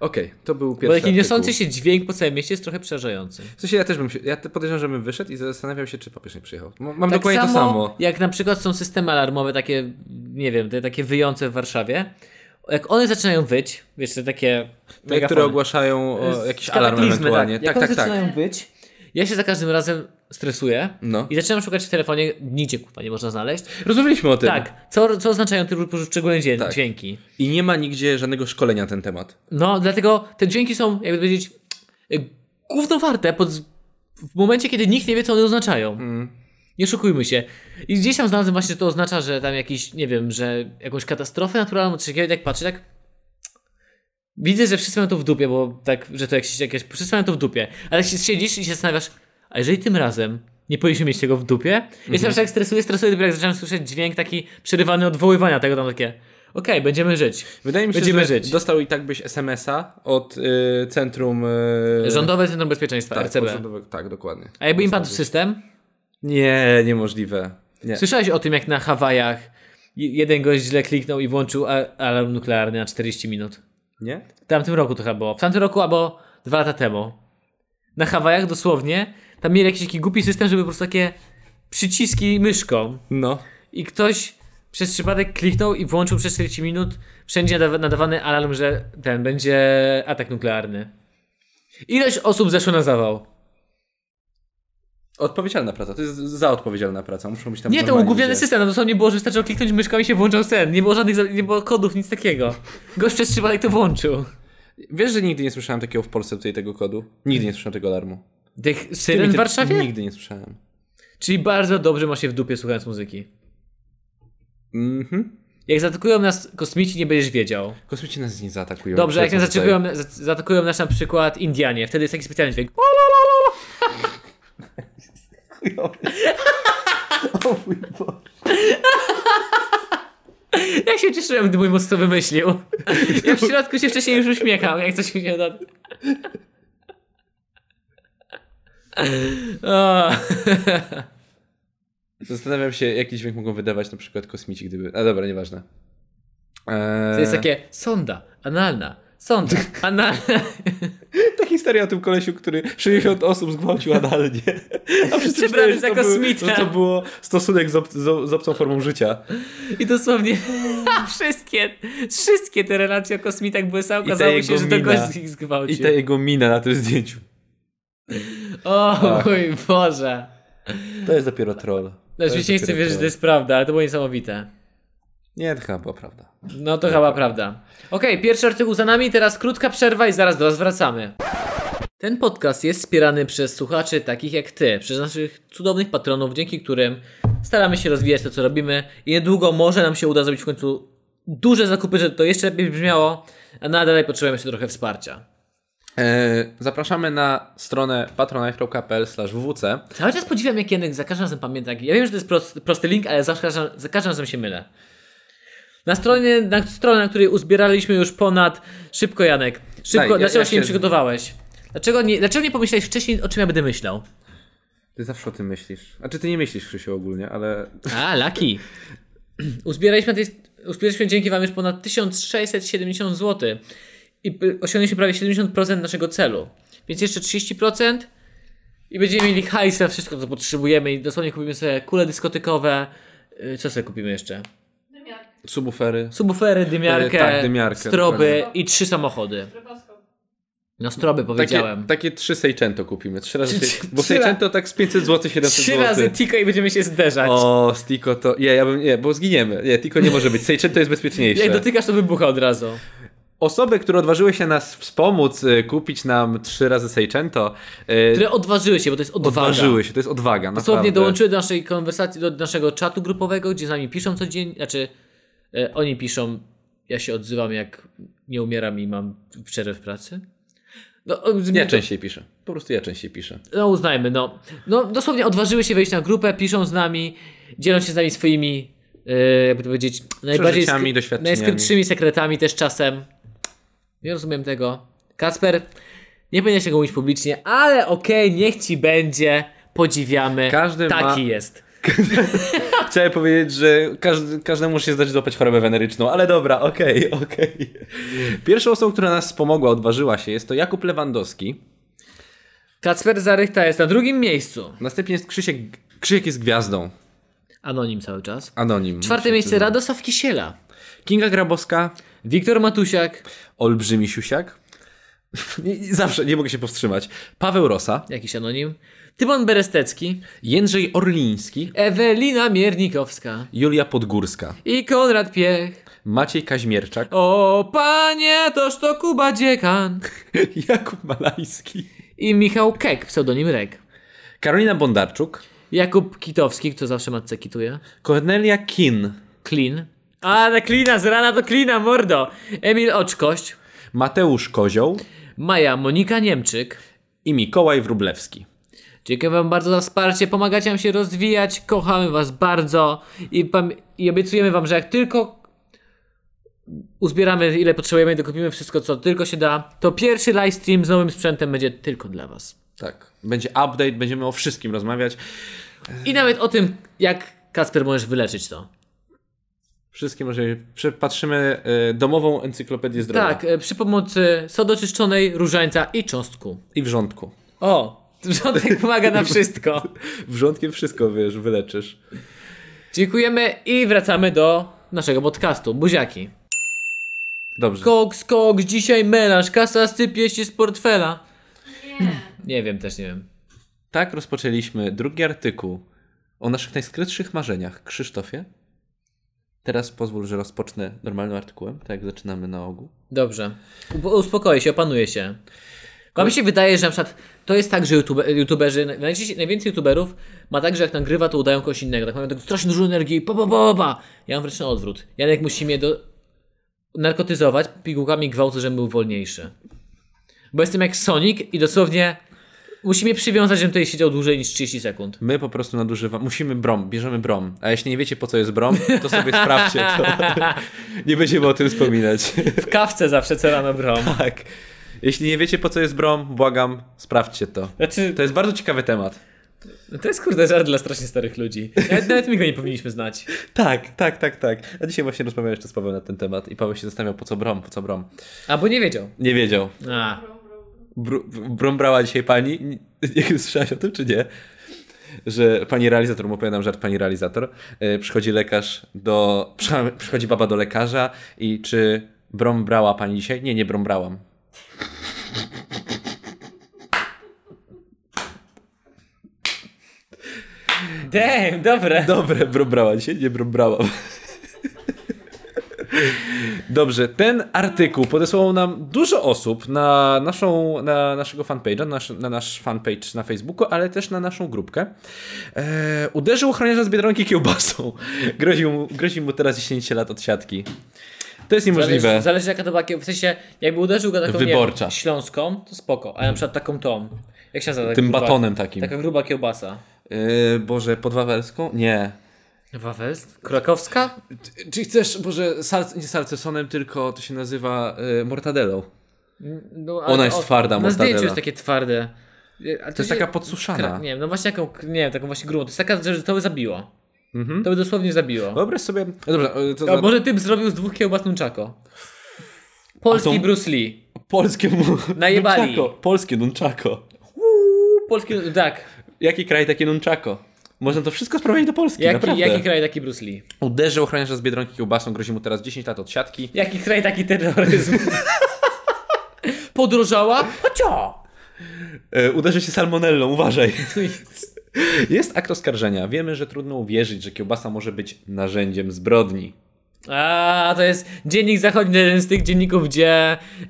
[SPEAKER 2] Okej, to był
[SPEAKER 1] Bo
[SPEAKER 2] pierwszy
[SPEAKER 1] taki niosący
[SPEAKER 2] artykuł.
[SPEAKER 1] się dźwięk po całym mieście jest troszkę przerażający.
[SPEAKER 2] W sensie ja też bym się, ja te- podejrzewam, że bym wyszedł i zastanawiał się, czy papież nie przyjechał. M- Mam
[SPEAKER 1] Tak
[SPEAKER 2] No, dokładnie
[SPEAKER 1] samo,
[SPEAKER 2] to samo.
[SPEAKER 1] jak na przykład są systemy alarmowe, takie, nie wiem, te takie wyjące w Warszawie. Jak one zaczynają wyć, wiesz, te takie
[SPEAKER 2] Te, No które
[SPEAKER 1] megafony.
[SPEAKER 2] ogłaszają o, jakiś alarm
[SPEAKER 1] Kataklizmy,
[SPEAKER 2] ewentualnie.
[SPEAKER 1] Jak
[SPEAKER 2] Tak, tak,
[SPEAKER 1] one
[SPEAKER 2] tak.
[SPEAKER 1] zaczynają być, ja się za każdym razem stresuję
[SPEAKER 2] No.
[SPEAKER 1] i zaczynam szukać w telefonie, nigdzie kurwa nie można znaleźć.
[SPEAKER 2] Rozmawialiśmy o tym.
[SPEAKER 1] Tak, co, co oznaczają te poszczególne dźwię-
[SPEAKER 2] Tak.
[SPEAKER 1] dźwięki.
[SPEAKER 2] I nie ma nigdzie żadnego szkolenia na ten temat.
[SPEAKER 1] No, dlatego te dźwięki są, jakby powiedzieć, e, gówno warte pod, w momencie, kiedy nikt nie wie, co one oznaczają. Nie oszukujmy się. I gdzieś tam znalazłem właśnie, że to oznacza, że tam jakiś, nie wiem, że jakąś katastrofę naturalną, czy jakiegoś, jak patrzę, tak widzę, że wszyscy mają to w dupie, bo tak, że to jakieś, jakieś wszyscy mają to w dupie. Ale się siedzisz i się zastanawiasz, a jeżeli tym razem nie powinniśmy mieć tego w dupie? Ja się zawsze jak stresuję, stresuję, dopiero jak zacząłem słyszeć dźwięk taki przerywany odwoływania tego, tam takie, okej, będziemy żyć.
[SPEAKER 2] Wydaje mi się,
[SPEAKER 1] Będziemy
[SPEAKER 2] że
[SPEAKER 1] żyć.
[SPEAKER 2] dostał i tak byś SMS-a od y, centrum... Y,
[SPEAKER 1] Rządowe Centrum Bezpieczeństwa,
[SPEAKER 2] tak,
[SPEAKER 1] RCB.
[SPEAKER 2] od rządowego- tak, dokładnie.
[SPEAKER 1] A jakby im padł system?
[SPEAKER 2] Nie, niemożliwe. Nie.
[SPEAKER 1] Słyszałeś o tym, jak na Hawajach j- jeden gość źle kliknął i włączył a- alarm nuklearny na 40 minut?
[SPEAKER 2] nie?
[SPEAKER 1] W tamtym roku to chyba było. W tamtym roku albo dwa lata temu. Na Hawajach dosłownie, tam mieli jakiś taki głupi system, żeby po prostu takie przyciski myszką.
[SPEAKER 2] No.
[SPEAKER 1] I ktoś przez przypadek kliknął i włączył przez 40 minut wszędzie nadawa- nadawany alarm, że ten będzie atak nuklearny. Ileś osób zeszło na zawał?
[SPEAKER 2] Odpowiedzialna praca, to jest za odpowiedzialna praca. Muszą być tam
[SPEAKER 1] Nie, to
[SPEAKER 2] normalni
[SPEAKER 1] ugubiony
[SPEAKER 2] ludzie.
[SPEAKER 1] system. No to nie było, że wystarczyło kliknąć myszką i się włączał sen. Nie było żadnych, za- nie było kodów, nic takiego. Gość przez przypadek to włączył.
[SPEAKER 2] Wiesz, że nigdy nie słyszałem takiego w Polsce tutaj tego kodu? Nigdy nie słyszałem tego alarmu.
[SPEAKER 1] Tych syren w
[SPEAKER 2] Nigdy-
[SPEAKER 1] Warszawie?
[SPEAKER 2] Nigdy nie słyszałem.
[SPEAKER 1] Czyli bardzo dobrze ma się w dupie słuchając muzyki.
[SPEAKER 2] Mhm.
[SPEAKER 1] Jak zaatakują nas kosmici, nie będziesz wiedział.
[SPEAKER 2] Kosmici nas nie zaatakują.
[SPEAKER 1] Dobrze, jak
[SPEAKER 2] Przez
[SPEAKER 1] nas
[SPEAKER 2] to
[SPEAKER 1] zaatakują, za- zaatakują nas na przykład Indianie, wtedy jest taki specjalny dźwięk. Jak się cieszyłem, gdy mój mózg to wymyślił. Ja w środku się wcześniej już uśmiechał, jak coś mi się da. O,
[SPEAKER 2] Zastanawiam się, jaki dźwięk mogą wydawać na przykład kosmici, gdyby... A dobra, nieważne. Eee...
[SPEAKER 1] to jest takie sonda, analna, sonda, analna.
[SPEAKER 2] Ta historia o tym kolesiu, który 60 osób zgwałcił analnie. A wszyscy
[SPEAKER 1] Przebrany
[SPEAKER 2] myśleli, że
[SPEAKER 1] za
[SPEAKER 2] to był-
[SPEAKER 1] kosmita.
[SPEAKER 2] że to było stosunek z, ob, z, ob- z obcą formą życia.
[SPEAKER 1] I dosłownie wszystkie, wszystkie te relacje o kosmitach były same.
[SPEAKER 2] I ta
[SPEAKER 1] Okazało się,
[SPEAKER 2] jego
[SPEAKER 1] że to
[SPEAKER 2] mina.
[SPEAKER 1] gość ich zgwałcił.
[SPEAKER 2] I ta jego mina na tym zdjęciu.
[SPEAKER 1] O mój Boże.
[SPEAKER 2] To jest dopiero troll. To jest
[SPEAKER 1] Oczywiście nie chcę
[SPEAKER 2] dopiero
[SPEAKER 1] wierzyć, No, że
[SPEAKER 2] troll.
[SPEAKER 1] to jest prawda, ale to było niesamowite.
[SPEAKER 2] Nie, to chyba była prawda.
[SPEAKER 1] No to chyba prawda. Okej, pierwszy artykuł za nami, teraz krótka przerwa i zaraz do Was wracamy. Ten podcast jest wspierany przez słuchaczy takich jak Ty, przez naszych cudownych patronów, dzięki którym staramy się rozwijać to, co robimy i niedługo może nam się uda zrobić w końcu duże zakupy, żeby to jeszcze lepiej brzmiało, a nadal potrzebujemy jeszcze trochę wsparcia.
[SPEAKER 2] E, zapraszamy na stronę patronite.pl/wc.
[SPEAKER 1] Cały czas podziwiam, jak Janek za każdym razem pamięta. Ja wiem, że to jest prosty, prosty link, ale za każdym, za każdym razem się mylę. Na stronie, na stronie, na której uzbieraliśmy już ponad. Szybko, Janek. Szybko,
[SPEAKER 2] Daj, ja-
[SPEAKER 1] dlaczego
[SPEAKER 2] ja
[SPEAKER 1] się
[SPEAKER 2] się-
[SPEAKER 1] nie przygotowałeś? Dlaczego nie, dlaczego nie pomyślałeś wcześniej, o czym ja będę myślał?
[SPEAKER 2] Ty zawsze o tym myślisz. A czy ty nie myślisz, Krzysiu, ogólnie, ale
[SPEAKER 1] A, Lucky. Uzbieraliśmy, tej, uzbieraliśmy dzięki Wam już ponad 1670 zł i p- osiągnęliśmy prawie 70% naszego celu. Więc jeszcze 30% i będziemy mieli hajs na wszystko, co potrzebujemy i dosłownie kupimy sobie kule dyskotykowe. Yy, Co sobie kupimy jeszcze?
[SPEAKER 2] subwoofery.
[SPEAKER 1] Subwoofery, dymiarkę,
[SPEAKER 2] E, Y, tak, dymiarkę,
[SPEAKER 1] stroby
[SPEAKER 2] dokładnie.
[SPEAKER 1] i trzy samochody. No stroby
[SPEAKER 2] Takie,
[SPEAKER 1] powiedziałem.
[SPEAKER 2] takie trzy Seicento kupimy. Trzy razy.
[SPEAKER 1] Trzy-
[SPEAKER 2] Sei-
[SPEAKER 1] trzy-
[SPEAKER 2] bo
[SPEAKER 1] trzy
[SPEAKER 2] Seicento tak z 500 zł, 700
[SPEAKER 1] Trzy
[SPEAKER 2] zł.
[SPEAKER 1] razy Tiko i będziemy się zderzać.
[SPEAKER 2] O, z Tico to. Nie, ja bym. Nie, bo zginiemy. Nie, Tico nie może być. Seicento jest
[SPEAKER 1] Jak
[SPEAKER 2] bezpieczniejsze.
[SPEAKER 1] dotykasz, to wybucha od razu.
[SPEAKER 2] Osoby, które odważyły się nas wspomóc, y, kupić nam trzy razy Seicento, y,
[SPEAKER 1] Które odważyły się, bo to jest odwaga.
[SPEAKER 2] odważyły się. To jest odwaga.
[SPEAKER 1] Dosłownie
[SPEAKER 2] naprawdę.
[SPEAKER 1] dołączyły do naszej konwersacji, do naszego czatu grupowego, gdzie z nami piszą codziennie, znaczy e, oni piszą, ja się odzywam jak nie umieram i mam przerwę w pracy. No, o, z-
[SPEAKER 2] Ja częściej piszę. Po prostu ja częściej piszę.
[SPEAKER 1] no uznajmy, no. No dosłownie odważyły się wejść na grupę, piszą z nami, dzielą się z nami swoimi, e, jakby to powiedzieć, najbardziej
[SPEAKER 2] Przeżyciami, doświadczeniami.
[SPEAKER 1] najskrytszymi sekretami też czasem. Nie rozumiem tego. Kasper, nie będę się go mówić publicznie, ale okej, niech ci będzie. Podziwiamy.
[SPEAKER 2] Każdy ma-
[SPEAKER 1] Taki jest.
[SPEAKER 2] Chciałem powiedzieć, że każdy, każdemu może się zdać złapać chorobę weneryczną, ale dobra, okej, okej. Pierwszą osobą, która nas wspomogła, odważyła się, jest to Jakub Lewandowski.
[SPEAKER 1] Kacper Zarychta jest na drugim miejscu.
[SPEAKER 2] Następnie jest Krzysiek. Krzysiek jest gwiazdą.
[SPEAKER 1] Anonim cały czas.
[SPEAKER 2] Anonim.
[SPEAKER 1] Czwarte
[SPEAKER 2] Się
[SPEAKER 1] miejsce
[SPEAKER 2] przyzna.
[SPEAKER 1] Radosław Kisiela.
[SPEAKER 2] Kinga Grabowska,
[SPEAKER 1] Wiktor Matusiak.
[SPEAKER 2] olbrzymi siusiak. Nie- nie- Zawsze nie mogę się powstrzymać. Paweł Rosa,
[SPEAKER 1] Jakiś anonim. Tymon Berestecki.
[SPEAKER 2] Jędrzej Orliński,
[SPEAKER 1] Ewelina Miernikowska.
[SPEAKER 2] Julia Podgórska,
[SPEAKER 1] I Konrad Piech.
[SPEAKER 2] Maciej Kaźmierczak,
[SPEAKER 1] O panie, toż to Kuba Dziekan.
[SPEAKER 2] Jakub Malajski,
[SPEAKER 1] I Michał Kek, pseudonim Rek.
[SPEAKER 2] Karolina Bondarczuk,
[SPEAKER 1] Jakub Kitowski, kto zawsze matce kituje.
[SPEAKER 2] Kornelia Kin,
[SPEAKER 1] Klin. A, na klina, z rana do klina, mordo. Emil Oczkość.
[SPEAKER 2] Mateusz Kozioł
[SPEAKER 1] Maja Monika Niemczyk.
[SPEAKER 2] i Mikołaj Wróblewski.
[SPEAKER 1] Dziękuję Wam bardzo za wsparcie, pomagacie nam się rozwijać, kochamy Was bardzo i, pam- i obiecujemy Wam, że jak tylko uzbieramy ile potrzebujemy, dokupimy wszystko co tylko się da, to pierwszy livestream z nowym sprzętem będzie tylko dla Was.
[SPEAKER 2] Tak. Będzie update, będziemy o wszystkim rozmawiać.
[SPEAKER 1] I nawet o tym, jak Kasper możesz wyleczyć to.
[SPEAKER 2] Wszystkim może przepatrzymy e, domową encyklopedię zdrowia.
[SPEAKER 1] Tak, e, przy pomocy sodoczyszczonej, różańca i cząstku.
[SPEAKER 2] I wrzątku.
[SPEAKER 1] O, wrzątek pomaga na wszystko.
[SPEAKER 2] Wrzątkiem wszystko wiesz, wyleczysz.
[SPEAKER 1] Dziękujemy i wracamy do naszego podcastu. Buziaki.
[SPEAKER 2] Dobrze.
[SPEAKER 1] Koks, koks, dzisiaj melanż, kasa sypie się z portfela. Nie. Nie wiem, też nie wiem.
[SPEAKER 2] tak rozpoczęliśmy drugi artykuł o naszych najskrytszych marzeniach. Krzysztofie, teraz pozwól, że rozpocznę normalnym artykułem, tak jak zaczynamy na ogół.
[SPEAKER 1] Dobrze. U- uspokoję się, opanuję się. Bo mi się wydaje, że na przykład to jest tak, że YouTube, youtuberzy, najczęściej- najwięcej youtuberów ma tak, że jak nagrywa, to udają kogoś innego. Tak mają tak strasznie dużo energii i pa, pa, pa, pa, pa. Ja mam wręcz na odwrót. Janek musi mnie do... narkotyzować pigułkami gwałtu, żebym był wolniejszy. Bo jestem jak Sonic i dosłownie musi mnie przywiązać, żebym tutaj siedział dłużej niż 30 sekund.
[SPEAKER 2] My po prostu nadużywamy, musimy brom, bierzemy brom. A jeśli nie wiecie po co jest brom, to sobie sprawdźcie to. nie będziemy o tym wspominać.
[SPEAKER 1] W kawce zawsze co rano brom.
[SPEAKER 2] tak. Jeśli nie wiecie po co jest brom, błagam, sprawdźcie to.
[SPEAKER 1] Znaczy,
[SPEAKER 2] To jest bardzo ciekawy temat.
[SPEAKER 1] to jest kurde żart dla strasznie starych ludzi. Nawet, nawet my go nie powinniśmy znać.
[SPEAKER 2] Tak, tak, tak, tak. A dzisiaj właśnie rozmawiałem jeszcze z Pawłem na ten temat i Paweł się zastanawiał, po co brom, po co brom.
[SPEAKER 1] Albo nie wiedział.
[SPEAKER 2] Nie wiedział.
[SPEAKER 1] A,
[SPEAKER 2] Br- brom brała dzisiaj pani. Nie wiem, słyszałaś o tym, czy nie? Że pani realizator, mu opowiadam żart, pani realizator, e, przychodzi lekarz do, przycha- przychodzi baba do lekarza i czy brom brała pani dzisiaj? Nie, nie brom brałam.
[SPEAKER 1] damn, dobre.
[SPEAKER 2] Dobre, brom brała dzisiaj? Nie, brom brałam. Dobrze, ten artykuł podesłał nam dużo osób na, naszą, na naszego fanpage'a, na nasz, na nasz fanpage na Facebooku, ale też na naszą grupkę. Eee, uderzył ochroniarza z Biedronki kiełbasą. Grozi mu, grozi mu teraz 10 lat odsiadki. To jest niemożliwe.
[SPEAKER 1] Zależy, zależy jaka to była kieł- W sensie, jakby uderzył go taką nie wiem,
[SPEAKER 2] Wyborcza.
[SPEAKER 1] śląską, to spoko. A na przykład taką tą. Jak się nazywa? taka
[SPEAKER 2] Tym
[SPEAKER 1] gruba-
[SPEAKER 2] batonem takim.
[SPEAKER 1] Taka gruba kiełbasa.
[SPEAKER 2] Eee, Boże, pod Wawelską? Nie.
[SPEAKER 1] Wawelsk? Krakowska?
[SPEAKER 2] Czy, czy chcesz, Boże, sal, nie salcesonem, tylko to się nazywa e, mortadelą.
[SPEAKER 1] No, ale
[SPEAKER 2] Ona jest
[SPEAKER 1] o-
[SPEAKER 2] twarda,
[SPEAKER 1] Na
[SPEAKER 2] mortadela.
[SPEAKER 1] zdjęciu jest takie twarde. A
[SPEAKER 2] To jest taka podsuszana.
[SPEAKER 1] Nie wiem, no właśnie jaką, nie wiem, taką właśnie grubą. To jest taka, że to by zabiło.
[SPEAKER 2] Mhm.
[SPEAKER 1] To by dosłownie zabiło.
[SPEAKER 2] Wyobraź sobie. No dobra, e, to
[SPEAKER 1] A
[SPEAKER 2] na...
[SPEAKER 1] może typ zrobił z dwóch kiełbas nunchako? Polski
[SPEAKER 2] A to-
[SPEAKER 1] Bruce Lee.
[SPEAKER 2] polskie mu...
[SPEAKER 1] Najebali.
[SPEAKER 2] Nunchako. Polskie nunchako.
[SPEAKER 1] Polski, tak.
[SPEAKER 2] Jaki kraj takie nunchako? Można to wszystko sprowadzić do Polski,
[SPEAKER 1] Jaki,
[SPEAKER 2] naprawdę.
[SPEAKER 1] jaki kraj taki Bruce Lee?
[SPEAKER 2] Uderzył ochroniarza z Biedronki kiełbasą, grozi mu teraz 10 lat odsiadki.
[SPEAKER 1] Jaki kraj taki terroryzm? podrożała. A co?
[SPEAKER 2] E, Uderzy się salmonellą, uważaj. Jest akt oskarżenia. Wiemy, że trudno uwierzyć, że kiełbasa może być narzędziem zbrodni.
[SPEAKER 1] A, to jest dziennik zachodni, jeden z tych dzienników, gdzie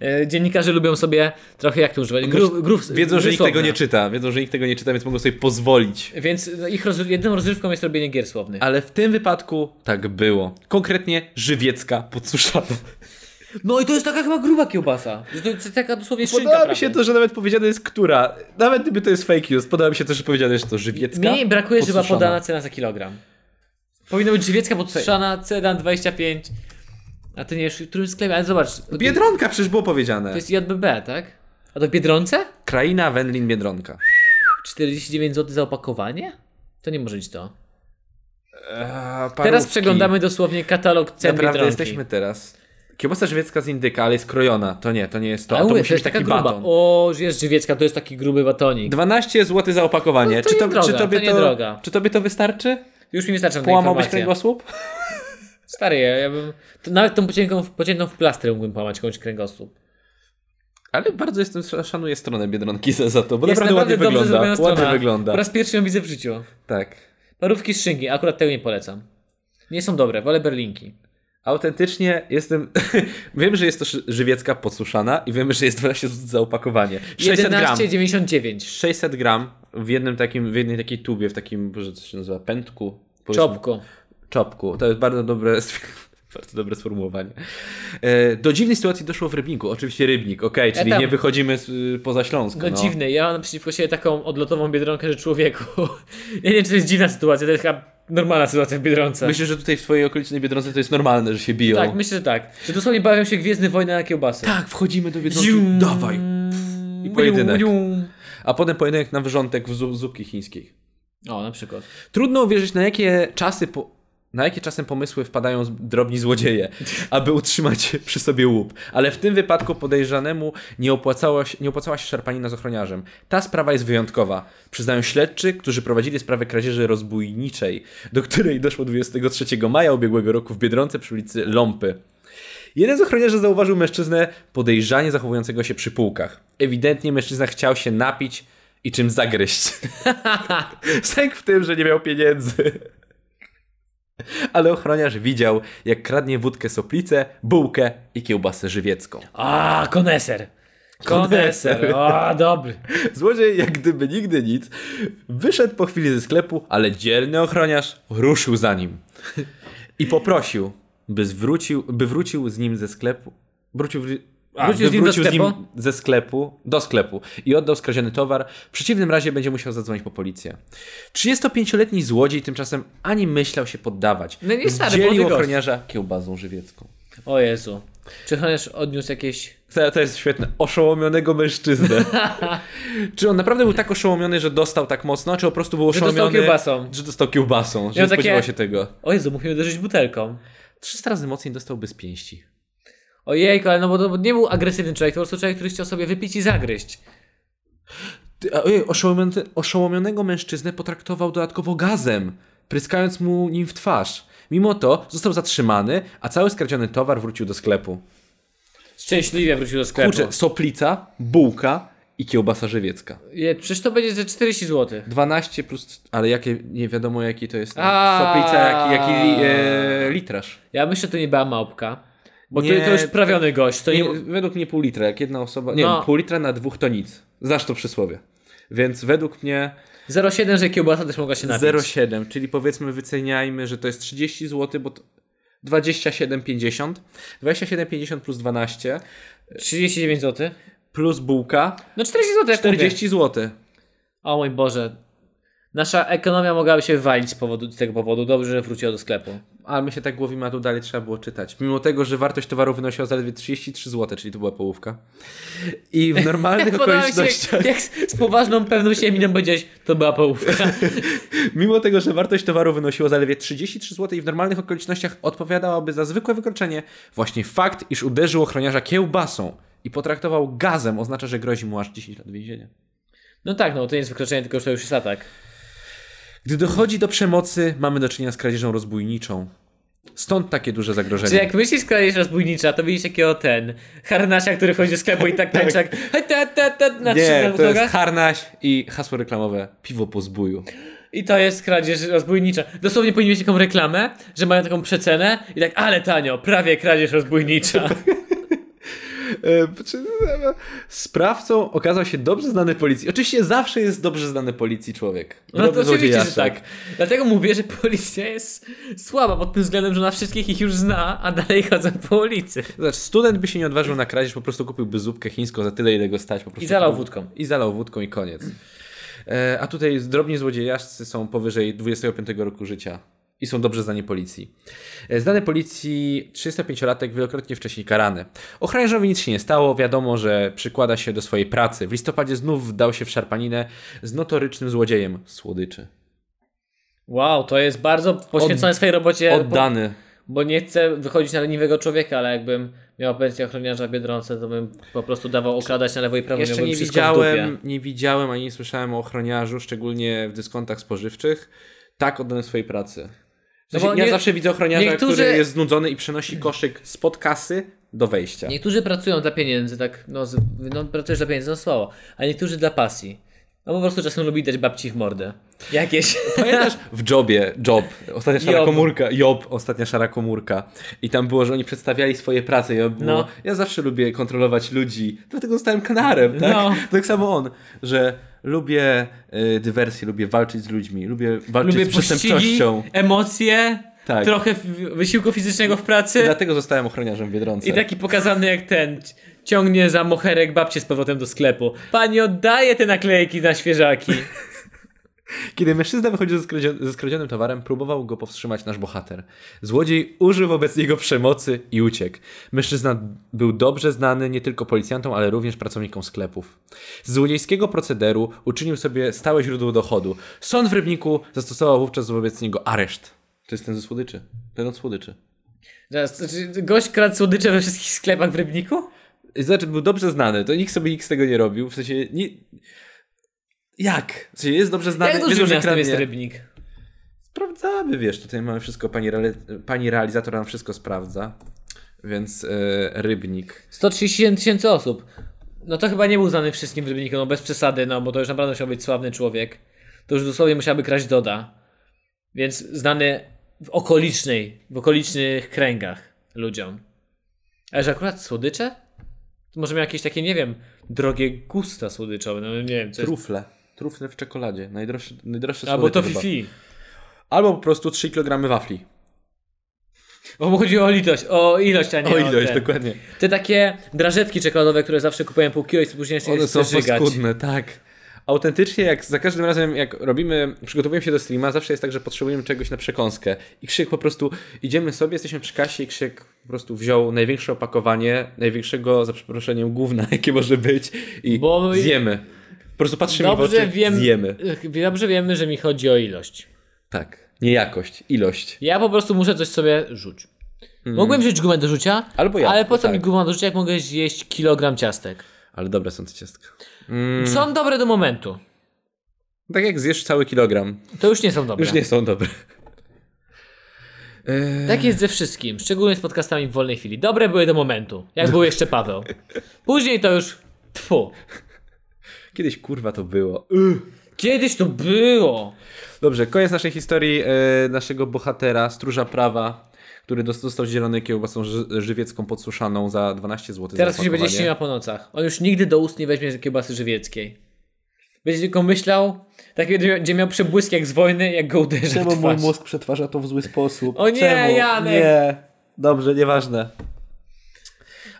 [SPEAKER 1] e, dziennikarze lubią sobie trochę, jak to używać, grów, grów,
[SPEAKER 2] Wiedzą, że nikt
[SPEAKER 1] grysłowne.
[SPEAKER 2] tego nie czyta. Wiedzą, że nikt tego nie czyta, więc mogą sobie pozwolić.
[SPEAKER 1] Więc no, ich roz, jedną rozrywką jest robienie gier słownych.
[SPEAKER 2] Ale w tym wypadku tak było. Konkretnie żywiecka podsuszana.
[SPEAKER 1] No i to jest taka chyba gruba kiełbasa. Że to jest taka dosłownie szynka
[SPEAKER 2] Podoba mi
[SPEAKER 1] prawie.
[SPEAKER 2] się to, że nawet powiedziane jest która. Nawet gdyby to jest fake news, podoba mi się to, że powiedziane jest to żywiecka.
[SPEAKER 1] Mnie brakuje, żeby była
[SPEAKER 2] podsuszana.
[SPEAKER 1] podana cena za kilogram. Powinna być żywiecka podsuszana, cena 25. A ty nie wiesz, w którym sklepie, ale zobacz. to-
[SPEAKER 2] Biedronka przecież było powiedziane.
[SPEAKER 1] To jest JBB, tak? A to w Biedronce?
[SPEAKER 2] Kraina, Wędlin, Biedronka.
[SPEAKER 1] 49 zł za opakowanie? To nie może być to.
[SPEAKER 2] Eee,
[SPEAKER 1] Teraz
[SPEAKER 2] parówki.
[SPEAKER 1] przeglądamy dosłownie katalog cen
[SPEAKER 2] Naprawdę
[SPEAKER 1] Biedronki.
[SPEAKER 2] jesteśmy teraz. Kiełbasa żywiecka z indyka, ale jest krojona. To nie, to nie jest to.
[SPEAKER 1] A
[SPEAKER 2] to
[SPEAKER 1] mówię,
[SPEAKER 2] musi
[SPEAKER 1] to jest
[SPEAKER 2] być
[SPEAKER 1] taka
[SPEAKER 2] taki
[SPEAKER 1] gruba.
[SPEAKER 2] baton.
[SPEAKER 1] O, jest żywiecka, to jest taki gruby batonik.
[SPEAKER 2] 12 zł za opakowanie.
[SPEAKER 1] No to
[SPEAKER 2] czy, to,
[SPEAKER 1] niedroga,
[SPEAKER 2] czy, tobie
[SPEAKER 1] to niedroga.
[SPEAKER 2] czy tobie to wystarczy?
[SPEAKER 1] Już mi wystarczą te
[SPEAKER 2] Połamałbyś
[SPEAKER 1] informacje.
[SPEAKER 2] kręgosłup?
[SPEAKER 1] Stary, ja, ja bym... To nawet tą pociętą, w- pociętą w plastrę mógłbym połamać komuś kręgosłup.
[SPEAKER 2] Ale bardzo jestem, szanuję stronę Biedronki za, za to, bo
[SPEAKER 1] Jest
[SPEAKER 2] naprawdę, ładnie
[SPEAKER 1] dobrze zrobiona
[SPEAKER 2] wygląda. Ładnie
[SPEAKER 1] strona.
[SPEAKER 2] wygląda.
[SPEAKER 1] Po raz pierwszy ją widzę w życiu.
[SPEAKER 2] Tak.
[SPEAKER 1] Parówki z szynki, akurat tego nie polecam. Nie są dobre, wolę berlinki.
[SPEAKER 2] Autentycznie jestem. wiem, że jest to ży- żywiecka podsuszana i wiemy, że jest 12 zł za opakowanie. 600 gram.
[SPEAKER 1] 11,99.
[SPEAKER 2] 600 gram w jednym takim, w jednej takiej tubie, w takim, że to się nazywa pętku. Powiedzmy-
[SPEAKER 1] Czopko.
[SPEAKER 2] Czopku. To jest bardzo dobre, bardzo dobre sformułowanie. E, Do dziwnej sytuacji doszło w Rybniku. Oczywiście Rybnik, okej, czyli
[SPEAKER 1] tam-
[SPEAKER 2] nie wychodzimy z, y, poza Śląsk.
[SPEAKER 1] No, dziwny, ja mam przeciwko siebie taką odlotową biedronkę, że człowieku. ja nie wiem, czy to jest dziwna sytuacja, to jest chyba normalna sytuacja w biedronce.
[SPEAKER 2] Myślę, że tutaj w twojej okolicznej Biedronce to jest normalne, że się biją.
[SPEAKER 1] tak, myślę, że tak. Że dosłownie bawią się Gwiezdny Wojny na kiełbasy.
[SPEAKER 2] Tak, wchodzimy do Biedronki.
[SPEAKER 1] Zium.
[SPEAKER 2] Dawaj. I pojedynek.
[SPEAKER 1] Zium.
[SPEAKER 2] A potem pojedynek na wyrządek w zu- zupki chińskiej.
[SPEAKER 1] O, na przykład.
[SPEAKER 2] Trudno uwierzyć, na jakie czasy po... Na jakie czasem pomysły wpadają z- drobni złodzieje, aby utrzymać przy sobie łup. Ale w tym wypadku podejrzanemu nie opłacała się, nie opłacała się szarpanina z ochroniarzem. Ta sprawa jest wyjątkowa. Przyznają śledczy, którzy prowadzili sprawę kradzieży rozbójniczej, do której doszło 23 maja ubiegłego roku w Biedronce przy ulicy Ląpy. Jeden z ochroniarzy zauważył mężczyznę podejrzanie zachowującego się przy półkach. Ewidentnie mężczyzna chciał się napić i czym zagryźć. Sęk w tym, że nie miał pieniędzy. Ale ochroniarz widział, jak kradnie wódkę soplicę, bułkę i kiełbasę żywiecką.
[SPEAKER 1] A, koneser. Koneser. O, dobry.
[SPEAKER 2] Złodziej, jak gdyby nigdy nic, wyszedł po chwili ze sklepu, ale dzielny ochroniarz ruszył za nim. I poprosił, by, zwrócił, by wrócił z nim ze sklepu. Wrócił, w- a,
[SPEAKER 1] Wrócił
[SPEAKER 2] by
[SPEAKER 1] z nim do
[SPEAKER 2] wrócił
[SPEAKER 1] sklepu?
[SPEAKER 2] ze sklepu do sklepu i oddał skradziony towar. W przeciwnym razie będzie musiał zadzwonić po policję. 35-letni złodziej tymczasem ani myślał się poddawać.
[SPEAKER 1] No nie stary,
[SPEAKER 2] Zdzielił
[SPEAKER 1] młody
[SPEAKER 2] ochroniarza kiełbasą żywiecką.
[SPEAKER 1] O Jezu. Czy chociaż odniósł jakieś...
[SPEAKER 2] To, to jest świetne. Oszołomionego mężczyznę. czy on naprawdę był tak oszołomiony, że dostał tak mocno, czy po prostu był
[SPEAKER 1] Że dostał
[SPEAKER 2] oszołomiony...
[SPEAKER 1] kiełbasą.
[SPEAKER 2] Że dostał kiełbasą, że
[SPEAKER 1] Miał
[SPEAKER 2] nie spodziewał
[SPEAKER 1] takie-
[SPEAKER 2] się tego.
[SPEAKER 1] O Jezu, musimy uderzyć butelką.
[SPEAKER 2] 300 razy mocniej dostałby z pięści.
[SPEAKER 1] Ojejku, ale no bo to nie był agresywny człowiek, to po prostu człowiek, który chciał sobie wypić i zagryźć.
[SPEAKER 2] Ty, a, ojej, oszołomiony, oszołomionego mężczyznę potraktował dodatkowo gazem, pryskając mu nim w twarz. Mimo to został zatrzymany, a cały skradziony towar wrócił do sklepu.
[SPEAKER 1] Szczęśliwie wrócił do sklepu.
[SPEAKER 2] Kurczę, soplica, bułka i kiełbasa żywiecka.
[SPEAKER 1] Je, przecież to będzie ze 40 zł.
[SPEAKER 2] 12 plus... Ale jakie, nie wiadomo jaki to jest...
[SPEAKER 1] A.
[SPEAKER 2] Soplica, jaki, jaki e, litraż.
[SPEAKER 1] Ja myślę, że to nie była małpka. Bo
[SPEAKER 2] Nie,
[SPEAKER 1] to, to już prawiony gość. To
[SPEAKER 2] To
[SPEAKER 1] nie...
[SPEAKER 2] nie, według mnie pół litra, jak jedna osoba. Nie,
[SPEAKER 1] No.
[SPEAKER 2] wiem, pół litra na dwóch to nic. Znasz to przysłowie. Więc według mnie
[SPEAKER 1] 0,7, że kiełbasa też mogła się napić.
[SPEAKER 2] 0,7, czyli powiedzmy wyceniajmy, że to jest 30 zł, bo to 27,50. 27,50 plus 12,
[SPEAKER 1] 39 zł.
[SPEAKER 2] plus bułka
[SPEAKER 1] No 40 zł, jak 40.
[SPEAKER 2] 40 zł.
[SPEAKER 1] O mój Boże. Nasza ekonomia mogłaby się walić z, powodu, z tego powodu. Dobrze, że wróciła do sklepu.
[SPEAKER 2] Ale my się tak głowimy, a tu dalej trzeba było czytać. Mimo tego, że wartość towaru wynosiła zaledwie 33 zł, czyli to była połówka. I w normalnych
[SPEAKER 1] Podoba mi
[SPEAKER 2] okolicznościach.
[SPEAKER 1] się, jak z, z poważną pewnością miną powiedziałeś, to była połówka.
[SPEAKER 2] Mimo tego, że wartość towaru wynosiła zaledwie 33 zł i w normalnych okolicznościach odpowiadałaby za zwykłe wykroczenie, właśnie fakt, iż uderzył ochroniarza kiełbasą i potraktował gazem oznacza, że grozi mu aż 10 lat więzienia.
[SPEAKER 1] No tak, no to nie jest wykroczenie, tylko że to już jest atak.
[SPEAKER 2] Gdy dochodzi do przemocy, mamy do czynienia z kradzieżą rozbójniczą. Stąd takie duże zagrożenie.
[SPEAKER 1] Czy jak myślisz kolejność rozbójnicza, to widzisz takiego ten harnasia, który wchodzi do sklepu i tak tańczy jak he, te, te, te, na
[SPEAKER 2] Nie,
[SPEAKER 1] trzech
[SPEAKER 2] to jest
[SPEAKER 1] nogach.
[SPEAKER 2] harnaś i hasło reklamowe piwo po zbóju.
[SPEAKER 1] I to jest kradzież rozbójnicza. Dosłownie powinni mieć taką reklamę, że mają taką przecenę i tak, ale tanio, prawie kradzież rozbójnicza.
[SPEAKER 2] E, czy- e, Sprawcą okazał się dobrze znany policji. Oczywiście zawsze jest dobrze znany policji człowiek.
[SPEAKER 1] No to
[SPEAKER 2] Drobny
[SPEAKER 1] oczywiście, że
[SPEAKER 2] złodziejaszek.
[SPEAKER 1] tak. Dlatego mówię, że policja jest słaba pod tym względem, że ona wszystkich ich już zna, a dalej chodzą po ulicy.
[SPEAKER 2] Zobacz, znaczy, student by się nie odważył na kradzież, po prostu kupiłby zupkę chińską za tyle, ile go stać. Po prostu
[SPEAKER 1] I zalał
[SPEAKER 2] kupił-
[SPEAKER 1] wódką.
[SPEAKER 2] I zalał wódką i koniec. E, a tutaj drobni złodziejaszcy są powyżej 25 roku życia i są dobrze znani policji. E, znany policji 35-latek wielokrotnie wcześniej karany. Ochroniarzowi nic się nie stało, wiadomo, że przykłada się do swojej pracy. W listopadzie znów wdał się w szarpaninę z notorycznym złodziejem słodyczy.
[SPEAKER 1] Wow, to jest bardzo poświęcone swojej robocie. E, po-
[SPEAKER 2] Oddany.
[SPEAKER 1] Bo nie chcę wychodzić na leniwego człowieka, ale jakbym miał pensję ochroniarza w Biedronce, to bym po prostu dawał okradać na lewo i prawo.
[SPEAKER 2] Jeszcze
[SPEAKER 1] miałbym
[SPEAKER 2] nie
[SPEAKER 1] wszystko w
[SPEAKER 2] widziałem,
[SPEAKER 1] dupie.
[SPEAKER 2] nie widziałem ani nie słyszałem o ochroniarzu, szczególnie w dyskontach spożywczych, tak oddanym swojej pracy. W
[SPEAKER 1] No
[SPEAKER 2] sensie,
[SPEAKER 1] bo
[SPEAKER 2] ja
[SPEAKER 1] nie-
[SPEAKER 2] zawsze widzę ochroniarza,
[SPEAKER 1] niektórzy-
[SPEAKER 2] który jest znudzony i przenosi koszyk spod kasy do wejścia.
[SPEAKER 1] Niektórzy pracują dla pieniędzy, tak, no, z, no pracujesz dla pieniędzy, no słabo, a niektórzy dla pasji. No po prostu czasem lubi dać babci w mordę. Jakieś.
[SPEAKER 2] Pamiętasz w Jobie, Job, ostatnia szara
[SPEAKER 1] Job.
[SPEAKER 2] komórka, Job, ostatnia szara komórka. I tam było, że oni przedstawiali swoje prace. Ja, było,
[SPEAKER 1] No.
[SPEAKER 2] ja zawsze lubię kontrolować ludzi, dlatego zostałem kanarem, tak?
[SPEAKER 1] No.
[SPEAKER 2] Tak samo on, że lubię y, dywersję, lubię walczyć z ludźmi, lubię walczyć
[SPEAKER 1] Lubię
[SPEAKER 2] z
[SPEAKER 1] pościgi,
[SPEAKER 2] przestępczością.
[SPEAKER 1] emocje,
[SPEAKER 2] Tak.
[SPEAKER 1] trochę w- wysiłku fizycznego w pracy.
[SPEAKER 2] Dlatego zostałem ochroniarzem w Biedronce.
[SPEAKER 1] I taki pokazany jak ten ci- ciągnie za mocherek babcię z powrotem do sklepu. Pani oddaje te naklejki na świeżaki.
[SPEAKER 2] Kiedy mężczyzna wychodził ze, skradzio- ze skradzionym towarem, próbował go powstrzymać nasz bohater. Złodziej użył wobec niego przemocy i uciekł. Mężczyzna był dobrze znany nie tylko policjantom, ale również pracownikom sklepów. Z złodziejskiego procederu uczynił sobie stałe źródło dochodu. Sąd w Rybniku zastosował wówczas wobec niego areszt. To jest ten ze słodyczy. Ten od słodyczy.
[SPEAKER 1] Zaraz, czy znaczy, Gość kradł słodycze we wszystkich sklepach w Rybniku?
[SPEAKER 2] Znaczy, był dobrze znany, to nikt sobie nikt z tego nie robił. W sensie, nie... Jak? W sensie, jest dobrze znany.
[SPEAKER 1] Jak
[SPEAKER 2] wiedzą,
[SPEAKER 1] dużym
[SPEAKER 2] że
[SPEAKER 1] miastem jest
[SPEAKER 2] kradnie.
[SPEAKER 1] Rybnik?
[SPEAKER 2] Sprawdzamy, wiesz, tutaj mamy wszystko, pani, reali- pani realizator nam wszystko sprawdza, więc e, rybnik.
[SPEAKER 1] 137 tysięcy osób. No to chyba nie był znany wszystkim w Rybniku, no bez przesady, no bo to już naprawdę musiał być sławny człowiek. To już dosłownie musiałby kraść Doda. Więc znany w okolicznej, w okolicznych kręgach ludziom. Ale że akurat słodycze? To może miał jakieś takie, nie wiem, drogie gusta słodyczowe, no nie wiem, co jest...
[SPEAKER 2] Trufle. Trufle w czekoladzie, najdroższe, najdroższe
[SPEAKER 1] Albo to
[SPEAKER 2] słodycze chyba.
[SPEAKER 1] Fifi.
[SPEAKER 2] Albo po prostu 3 kg wafli.
[SPEAKER 1] Bo mu chodzi o litość, o ilość, a nie
[SPEAKER 2] o ilość,
[SPEAKER 1] ten.
[SPEAKER 2] dokładnie.
[SPEAKER 1] Te takie drażetki czekoladowe, które zawsze kupowałem pół kilo i później sobie
[SPEAKER 2] One są
[SPEAKER 1] żygać.
[SPEAKER 2] paskudne, tak. Autentycznie, jak za każdym razem, jak robimy, przygotowujemy się do streama, zawsze jest tak, że potrzebujemy czegoś na przekąskę. I Krzyk po prostu, idziemy sobie, jesteśmy przy kasie i Krzyk po prostu wziął największe opakowanie, największego, za przeproszeniem, gówna, jakie może być i
[SPEAKER 1] Bo-
[SPEAKER 2] zjemy. Po prostu patrzymy w
[SPEAKER 1] Dobrze
[SPEAKER 2] oczy,
[SPEAKER 1] wiem,
[SPEAKER 2] zjemy.
[SPEAKER 1] dobrze wiemy, że mi chodzi o ilość.
[SPEAKER 2] Tak, nie jakość, ilość.
[SPEAKER 1] Ja po prostu muszę coś sobie rzuć. Mogłem wziąć gumę do rzucia,
[SPEAKER 2] Mm. Albo jabłko,
[SPEAKER 1] ale po co mi
[SPEAKER 2] tak.
[SPEAKER 1] guma do rzucia, jak mogę zjeść kilogram ciastek?
[SPEAKER 2] Ale dobre są te ciastka.
[SPEAKER 1] Są dobre do momentu.
[SPEAKER 2] Tak jak zjesz cały kilogram,
[SPEAKER 1] To już nie są dobre.
[SPEAKER 2] już nie są dobre.
[SPEAKER 1] Tak jest ze wszystkim, szczególnie z podcastami w wolnej chwili. Dobre były do momentu, jak był jeszcze Paweł. Później to już tfu.
[SPEAKER 2] Kiedyś kurwa to było.
[SPEAKER 1] Kiedyś to było.
[SPEAKER 2] Dobrze, koniec naszej historii e, naszego bohatera, stróża prawa, który dos- został zielony kiełbasą ży żywiecką podsuszaną za 12 zł.
[SPEAKER 1] Teraz to się będzie śniła po nocach. On już nigdy do ust nie weźmie kiełbasy żywieckiej. Będzie tylko myślał, tak jak będzie miał przebłysk jak z wojny, jak go uderza w twarz.
[SPEAKER 2] przetwarza to w zły sposób?
[SPEAKER 1] O nie, Czemu? Janek!
[SPEAKER 2] Nie, dobrze, nieważne.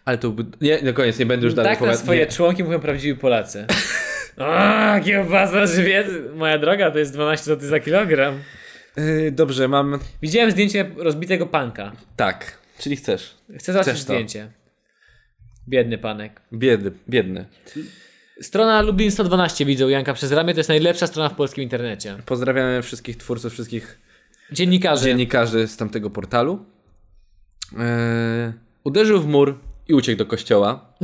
[SPEAKER 2] Ale to by... Nie, na koniec, nie będę już dalej
[SPEAKER 1] Tak na
[SPEAKER 2] opowiadał.
[SPEAKER 1] swoje
[SPEAKER 2] Nie.
[SPEAKER 1] członki mówią prawdziwi Polacy. A, kiełbasa żywiec. Moja droga, to jest 12 zł za kilogram.
[SPEAKER 2] Y, dobrze, mam...
[SPEAKER 1] Widziałem zdjęcie rozbitego panka.
[SPEAKER 2] Tak. Czyli chcesz.
[SPEAKER 1] Chcę zobaczyć
[SPEAKER 2] Chcesz to.
[SPEAKER 1] zdjęcie. Biedny panek.
[SPEAKER 2] Biedny, biedny.
[SPEAKER 1] Strona Lublin 112 widzą Janka przez ramię. To jest najlepsza strona w polskim internecie.
[SPEAKER 2] Pozdrawiamy wszystkich twórców, wszystkich
[SPEAKER 1] Dziennikarze.
[SPEAKER 2] dziennikarzy z tamtego portalu. E, uderzył w mur i uciekł do kościoła.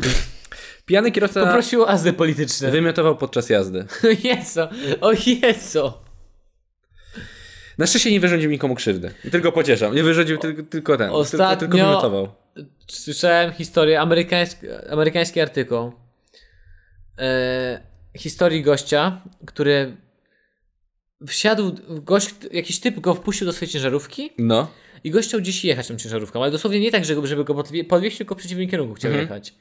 [SPEAKER 2] Pijany kierowca
[SPEAKER 1] Poprosił o azyl polityczny.
[SPEAKER 2] wymiotował podczas jazdy.
[SPEAKER 1] O Jezu, o Jezu.
[SPEAKER 2] Na szczęście nie wyrządził nikomu krzywdy. Tylko pocieszam. Nie wyrządził tylko, tylko ten.
[SPEAKER 1] Ostatnio-
[SPEAKER 2] Tylko, tylko wylotował.
[SPEAKER 1] Słyszałem historię, amerykański, amerykański artykuł. E, historii gościa, który wsiadł, gość, jakiś typ go wpuścił do swojej ciężarówki
[SPEAKER 2] No.
[SPEAKER 1] i gościał gdzieś jechać tą ciężarówką, ale dosłownie nie tak, żeby żeby go podwie- podwieźć, tylko w przeciwnym kierunku chciał jechać.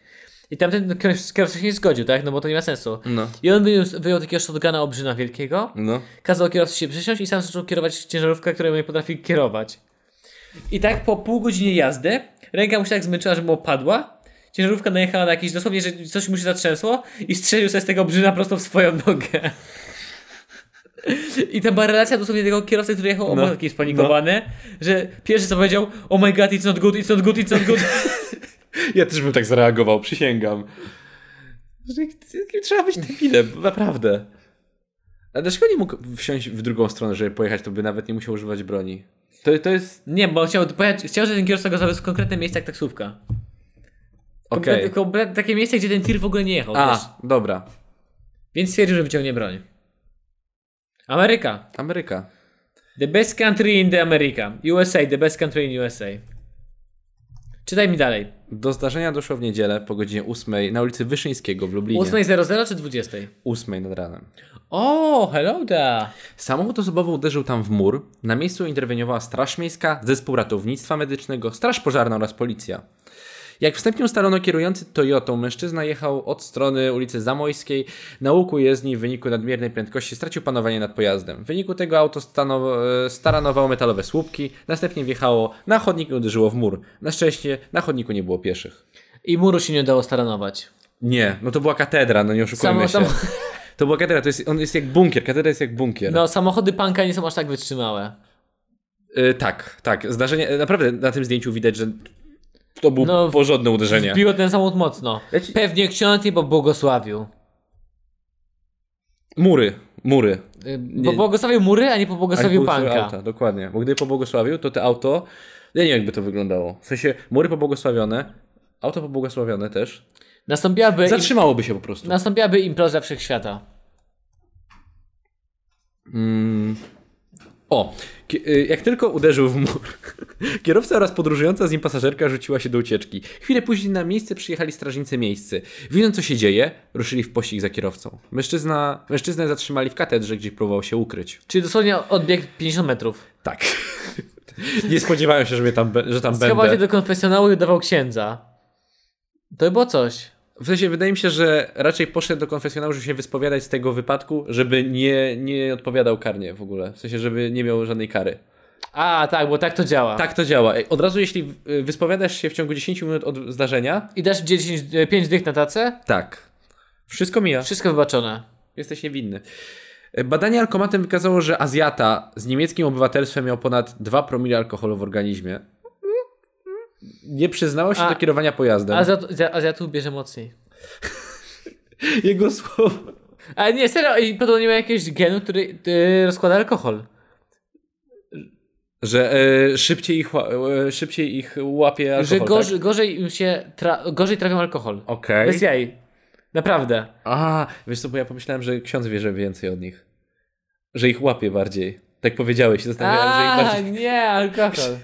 [SPEAKER 1] I tamten kierow- kierowca się nie zgodził, tak? No bo to nie ma sensu.
[SPEAKER 2] No.
[SPEAKER 1] I on wyjął, wyjął takiego shotguna obrzyna wielkiego,
[SPEAKER 2] No.
[SPEAKER 1] kazał kierowcy się przesiąść i sam zaczął kierować ciężarówkę, którą nie potrafi kierować. I tak po pół godziny jazdy, ręka mu się tak zmęczyła, że mu opadła, ciężarówka najechała na jakiś, dosłownie, że coś mu się zatrzęsło i strzelił sobie z tego brzyna prosto w swoją nogę. I ta była relacja dosłownie tego kierowcy, który jechał
[SPEAKER 2] No,
[SPEAKER 1] obok taki spanikowany, że pierwszy co powiedział, oh my god, it's not good, it's not good, it's not good.
[SPEAKER 2] Ja też bym tak zareagował, przysięgam. Że jakim Trzeba być debilem, naprawdę. A dlaczego nie mógł wsiąść w drugą stronę, żeby pojechać, to by nawet nie musiał używać broni? To, to jest...
[SPEAKER 1] nie, bo chciał, pojechać- chciał, że ten kierowca go zawiózł w konkretne miejsce jak taksówka.
[SPEAKER 2] Okej.
[SPEAKER 1] Komplet- komplet- Takie miejsce, gdzie ten tir w ogóle nie jechał. wiesz?
[SPEAKER 2] A, dobra.
[SPEAKER 1] Więc stwierdził, że wyciągnie broń. Ameryka.
[SPEAKER 2] Ameryka.
[SPEAKER 1] The best country in the America. USA, the best country in USA. Czytaj mi dalej.
[SPEAKER 2] Do zdarzenia doszło w niedzielę po godzinie 8 na ulicy Wyszyńskiego w Lublinie.
[SPEAKER 1] 8.00 czy 20?
[SPEAKER 2] 8 nad ranem.
[SPEAKER 1] O, hello there.
[SPEAKER 2] Samochód osobowy uderzył tam w mur. Na miejscu interweniowała Straż Miejska, Zespół Ratownictwa Medycznego, Straż Pożarna oraz Policja. Jak wstępnie ustalono, kierujący Toyotą mężczyzna jechał od strony ulicy Zamojskiej. Na łuku jezdni w wyniku nadmiernej prędkości stracił panowanie nad pojazdem. W wyniku tego auto stanow- e, staranowało metalowe słupki, następnie wjechało na chodnik i uderzyło w mur. Na szczęście na chodniku nie było pieszych.
[SPEAKER 1] I muru się nie udało staranować.
[SPEAKER 2] Nie, no to była katedra, no nie oszukujmy
[SPEAKER 1] Samo-
[SPEAKER 2] się. To była katedra, to jest, on jest jak bunkier, katedra jest jak bunkier.
[SPEAKER 1] No, samochody panka nie są aż tak wytrzymałe.
[SPEAKER 2] Y, tak, tak. Zdarzenie, y, naprawdę na tym zdjęciu widać, że to było
[SPEAKER 1] No, w-
[SPEAKER 2] porządne uderzenie.
[SPEAKER 1] Wbiło ten samochód mocno.
[SPEAKER 2] Ja ci-
[SPEAKER 1] Pewnie ksiądz Y, bo błogosławił.
[SPEAKER 2] Mury, mury.
[SPEAKER 1] Y, Bo błogosławił mury, a nie pobłogosławił
[SPEAKER 2] Ale
[SPEAKER 1] panka.
[SPEAKER 2] Auta, dokładnie, bo gdy pobłogosławił, to te auto, ja nie wiem jakby to wyglądało. W sensie, mury pobłogosławione, auto pobłogosławione też.
[SPEAKER 1] Nastąpiłaby, im...
[SPEAKER 2] Zatrzymałoby się po prostu.
[SPEAKER 1] Nastąpiłaby impreza wszechświata.
[SPEAKER 2] O, ki- y, jak tylko uderzył w mur, kierowca oraz podróżująca z nim pasażerka rzuciła się do ucieczki. Chwilę później na miejsce przyjechali strażnicy miejscy. Widząc co się dzieje, ruszyli w pościg za kierowcą. Mężczyzna, mężczyznę zatrzymali w katedrze, gdzie próbował się ukryć.
[SPEAKER 1] Czyli dosłownie odbieg 50 metrów.
[SPEAKER 2] Tak. Nie spodziewałem się, że, mnie tam, be- że tam
[SPEAKER 1] Schował się
[SPEAKER 2] będę.
[SPEAKER 1] do konfesjonału i udawał księdza. To by było coś.
[SPEAKER 2] W sensie wydaje mi się, że raczej poszedł do konfesjonału, żeby się wyspowiadać z tego wypadku, żeby nie, nie odpowiadał karnie w ogóle. W sensie, żeby nie miał żadnej kary.
[SPEAKER 1] A, tak, bo tak to działa.
[SPEAKER 2] Tak to działa. Ej, Od razu, jeśli y, wyspowiadasz się w ciągu 10 minut od zdarzenia,
[SPEAKER 1] I dasz 10, e, 5 dych na tacę?
[SPEAKER 2] Tak. Wszystko mija.
[SPEAKER 1] Wszystko wybaczone.
[SPEAKER 2] Jesteś niewinny. E, Badanie alkomatem wykazało, że Azjata z niemieckim obywatelstwem miał ponad 2 promile alkoholu w organizmie. Nie przyznało się
[SPEAKER 1] A-
[SPEAKER 2] do kierowania pojazdem.
[SPEAKER 1] Azjat, za- Azjatów bierze mocniej.
[SPEAKER 2] Jego słowa.
[SPEAKER 1] Ale nie, serio, i podobno nie ma jakiegoś genu, który e, rozkłada alkohol.
[SPEAKER 2] Że e, szybciej, ich, ła- e, szybciej ich łapie alkohol,
[SPEAKER 1] że gorzej,
[SPEAKER 2] tak?
[SPEAKER 1] gorzej im się, tra, gorzej trafią alkohol.
[SPEAKER 2] Okej.
[SPEAKER 1] Bez jaj. Naprawdę.
[SPEAKER 2] A, wiesz co, bo ja pomyślałem, że ksiądz wie, że więcej od nich. Że ich łapie bardziej. Tak powiedziałeś, się zastanawiałem, że ich
[SPEAKER 1] A,
[SPEAKER 2] bardziej...
[SPEAKER 1] nie, alkohol.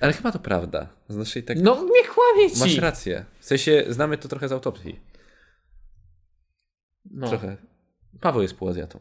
[SPEAKER 2] Ale chyba to prawda. Znaczy tak...
[SPEAKER 1] No, nie kłamie ci.
[SPEAKER 2] Masz rację. W sensie, znamy to trochę z autopsji.
[SPEAKER 1] No.
[SPEAKER 2] Trochę. Paweł jest półazjatą.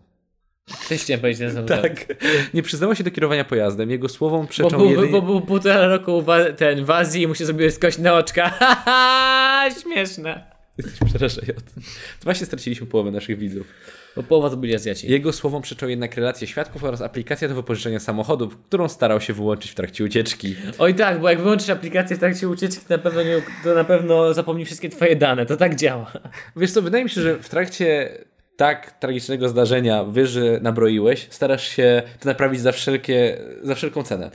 [SPEAKER 1] Też chciałem powiedzieć ten sam
[SPEAKER 2] Tak. Nie przyznało się do kierowania pojazdem. Jego słowom
[SPEAKER 1] Bo
[SPEAKER 2] przeczą
[SPEAKER 1] był,
[SPEAKER 2] jedynie...
[SPEAKER 1] bo był półtora roku wa- ten w Azji i mu się zrobiły skość na oczka. Ha, ha, Śmieszne.
[SPEAKER 2] Jesteś przerażający. Właśnie straciliśmy połowę naszych widzów.
[SPEAKER 1] Bo połowa to byli Azjaci.
[SPEAKER 2] Jego słowom przeczą jednak relacje świadków oraz aplikacja do wypożyczenia samochodów, którą starał się wyłączyć w trakcie ucieczki.
[SPEAKER 1] Oj tak, bo jak wyłączysz aplikację w trakcie ucieczki, to na pewno, nie, to na pewno zapomni wszystkie twoje dane. To tak działa.
[SPEAKER 2] Wiesz co, wydaje mi się, że w trakcie tak tragicznego zdarzenia wiesz, że nabroiłeś, starasz się to naprawić za, wszelkie, za wszelką cenę.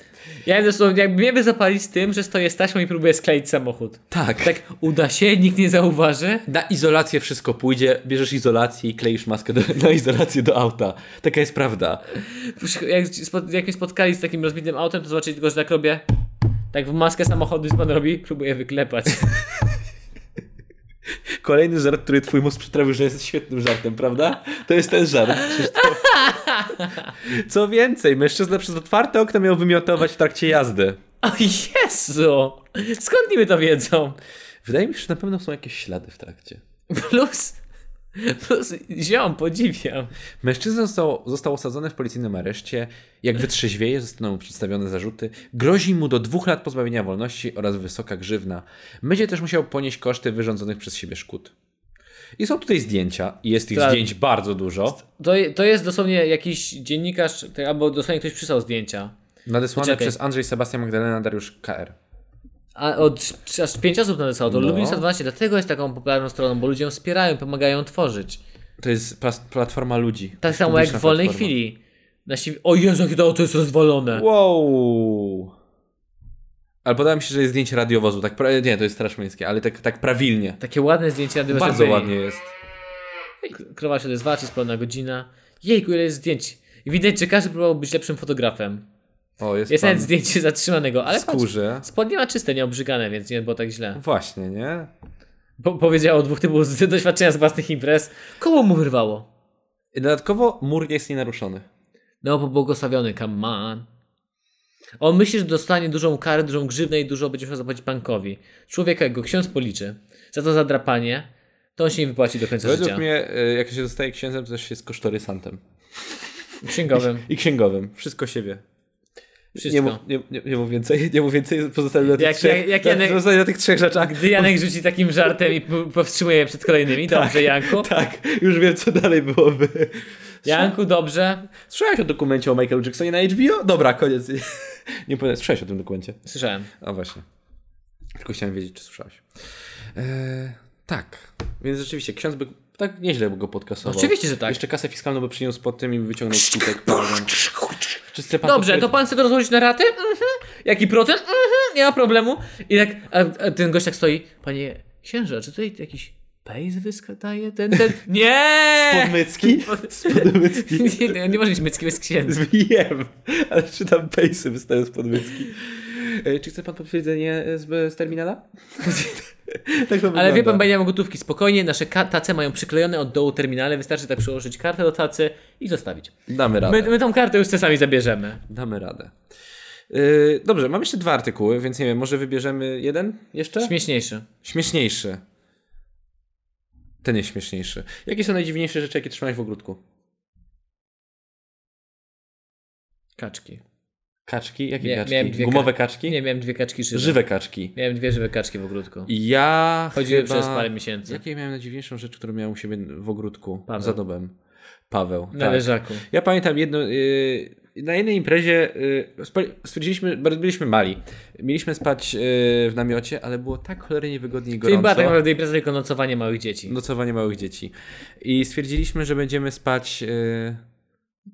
[SPEAKER 1] Ja bym zresztą, jakby mnie by zapalić z tym, że stoję z taśmą i próbuję skleić samochód.
[SPEAKER 2] Tak.
[SPEAKER 1] Tak uda się, nikt nie zauważy.
[SPEAKER 2] Na izolację wszystko pójdzie, bierzesz izolację i kleisz maskę do, na izolację do auta. Taka jest prawda.
[SPEAKER 1] Przy- Jak, spo- jak mnie spotkali z takim rozbitym autem, to zobaczyli tylko, że tak robię. Tak w maskę samochodu, co pan robi, próbuję wyklepać.
[SPEAKER 2] Kolejny żart, który twój mózg przetrawił, że jest świetnym żartem, prawda? To jest ten żart. Przecież to- Co więcej, mężczyzna przez otwarte okno miał wymiotować w trakcie jazdy.
[SPEAKER 1] O Jezu! Skąd niby to wiedzą?
[SPEAKER 2] Wydaje mi się, że na pewno są jakieś ślady w trakcie.
[SPEAKER 1] Plus... Plus ziom, podziwiam.
[SPEAKER 2] Mężczyzna został, został osadzony w policyjnym areszcie. Jak wytrzeźwieje, zostaną mu przedstawione zarzuty. Grozi mu do dwóch lat pozbawienia wolności oraz wysoka grzywna. Będzie też musiał ponieść koszty wyrządzonych przez siebie szkód. I są tutaj zdjęcia. i Jest tych
[SPEAKER 1] Tak.
[SPEAKER 2] zdjęć bardzo dużo.
[SPEAKER 1] To, to jest dosłownie jakiś dziennikarz, tak, albo dosłownie ktoś przysłał zdjęcia.
[SPEAKER 2] Nadesłane
[SPEAKER 1] Czekaj.
[SPEAKER 2] przez Andrzej Sebastian Magdalena Dariusz KR.
[SPEAKER 1] A od, aż pięć osób nadesłało to.
[SPEAKER 2] No.
[SPEAKER 1] No. Lublin 112 dlatego jest taką popularną stroną, bo ludzie ją wspierają, pomagają ją tworzyć.
[SPEAKER 2] To jest plas- platforma ludzi.
[SPEAKER 1] Tak samo jak
[SPEAKER 2] Publiczna
[SPEAKER 1] w wolnej
[SPEAKER 2] platforma.
[SPEAKER 1] chwili. Nasi... O Jezu, jakie to, to jest rozwalone.
[SPEAKER 2] Wow! Ale podoba mi się, że jest zdjęcie radiowozu. Tak pra... Nie, to jest Straż Miejskie, ale tak, tak prawilnie.
[SPEAKER 1] Takie ładne zdjęcie na dywasie
[SPEAKER 2] Bardzo
[SPEAKER 1] byli.
[SPEAKER 2] ładnie jest.
[SPEAKER 1] K- Krowa się odezwała, czy jest pełna godzina. Jejku, ile jest zdjęć. I widać, że każdy próbował być lepszym fotografem.
[SPEAKER 2] O, jest,
[SPEAKER 1] Jest
[SPEAKER 2] pan
[SPEAKER 1] nawet zdjęcie zatrzymanego, ale
[SPEAKER 2] w skórze.
[SPEAKER 1] patrz, spodnie ma czyste, nie obrzygane, więc nie było tak źle.
[SPEAKER 2] Właśnie, nie?
[SPEAKER 1] Po powiedziało dwóch typów z doświadczenia z własnych imprez. Koło mu wyrwało.
[SPEAKER 2] I Dodatkowo mur jest nienaruszony.
[SPEAKER 1] No, pobłogosławiony, come on. On myśli, że dostanie dużą karę, dużą grzywnę i dużo będzie musiał zapłacić bankowi. Człowieka, jak go ksiądz policzy za to zadrapanie, to on się nie wypłaci do końca
[SPEAKER 2] Według
[SPEAKER 1] życia.
[SPEAKER 2] mnie, y, jak się zostaje księdzem, to też jest kosztorysantem.
[SPEAKER 1] Księgowym.
[SPEAKER 2] I księgowym. Wszystko się wie.
[SPEAKER 1] Wszystko.
[SPEAKER 2] Nie mów, nie, nie, nie mów więcej, nie mów więcej, pozostań na tych
[SPEAKER 1] Jak-
[SPEAKER 2] trzech,
[SPEAKER 1] jak- jak
[SPEAKER 2] na,
[SPEAKER 1] Janek-
[SPEAKER 2] pozostań na tych trzech rzeczach.
[SPEAKER 1] Gdy Janek rzuci takim żartem i p- powstrzymuje je przed kolejnymi, dobrze Janku.
[SPEAKER 2] Tak, już wiem, co dalej byłoby.
[SPEAKER 1] Janku, dobrze.
[SPEAKER 2] Słyszałeś o dokumencie o Michael Jacksonie na HBO? Dobra, koniec. Nie powiem, słyszałeś o tym dokumencie.
[SPEAKER 1] Słyszałem.
[SPEAKER 2] A właśnie. Tylko chciałem wiedzieć, czy słyszałeś. Eee, tak. Więc rzeczywiście, ksiądz by tak nieźle by go podkasował.
[SPEAKER 1] Oczywiście, że tak.
[SPEAKER 2] Jeszcze kasę fiskalną by przyniósł pod tym i wyciągnął skutek. prawda? Czyste pan
[SPEAKER 1] Dobrze, to pan chce to rozłożyć na raty? Mhm. Jaki procent? Mhm. Nie ma problemu. I tak, a, a ten gość tak stoi. Panie księże, czy tutaj jakiś pejs wyskadaje? Ten, ten... Nie!
[SPEAKER 2] Podmycki? Podmycki.
[SPEAKER 1] nie, nie, nie może być myckiem, jest księdz.
[SPEAKER 2] Wiem, ale czytam pejsy wystają z podmycki. Eee, czy chce pan potwierdzenie z, z terminala? tak to
[SPEAKER 1] Ale wie
[SPEAKER 2] wygląda.
[SPEAKER 1] pan, będzie miał gotówki. Spokojnie, nasze ka- tace mają przyklejone od dołu terminale. Wystarczy tak przyłożyć kartę do tacy i zostawić.
[SPEAKER 2] Damy radę.
[SPEAKER 1] My, my tą kartę już sami zabierzemy.
[SPEAKER 2] Damy radę. Yy, dobrze, mam jeszcze dwa artykuły, więc nie wiem, może wybierzemy jeden jeszcze?
[SPEAKER 1] Śmieszniejszy.
[SPEAKER 2] śmieszniejszy. Ten jest śmieszniejszy. Jakie są najdziwniejsze rzeczy, jakie trzymałeś w ogródku?
[SPEAKER 1] Kaczki.
[SPEAKER 2] Kaczki? Jakie
[SPEAKER 1] Mia- miałem
[SPEAKER 2] kaczki?
[SPEAKER 1] dwie
[SPEAKER 2] Gumowe
[SPEAKER 1] ka-
[SPEAKER 2] kaczki?
[SPEAKER 1] Nie, miałem dwie kaczki żywe.
[SPEAKER 2] Żywe kaczki.
[SPEAKER 1] Miałem dwie żywe kaczki w ogródku.
[SPEAKER 2] Ja
[SPEAKER 1] Chodziły
[SPEAKER 2] chyba...
[SPEAKER 1] przez parę miesięcy.
[SPEAKER 2] Jakie miałem najdziwniejszą rzecz, którą miałem u siebie w ogródku?
[SPEAKER 1] Paweł.
[SPEAKER 2] Za dobem. Paweł.
[SPEAKER 1] Na leżaku.
[SPEAKER 2] Ja pamiętam jedno. y, na jednej imprezie yy, stwierdziliśmy, bardzo byliśmy mali. Mieliśmy spać y, w namiocie, ale było tak cholernie wygodnie
[SPEAKER 1] Czyli
[SPEAKER 2] i
[SPEAKER 1] była
[SPEAKER 2] gorąco.
[SPEAKER 1] tak naprawdę impreza tylko nocowanie małych dzieci.
[SPEAKER 2] Nocowanie małych dzieci. I stwierdziliśmy, że będziemy spać y,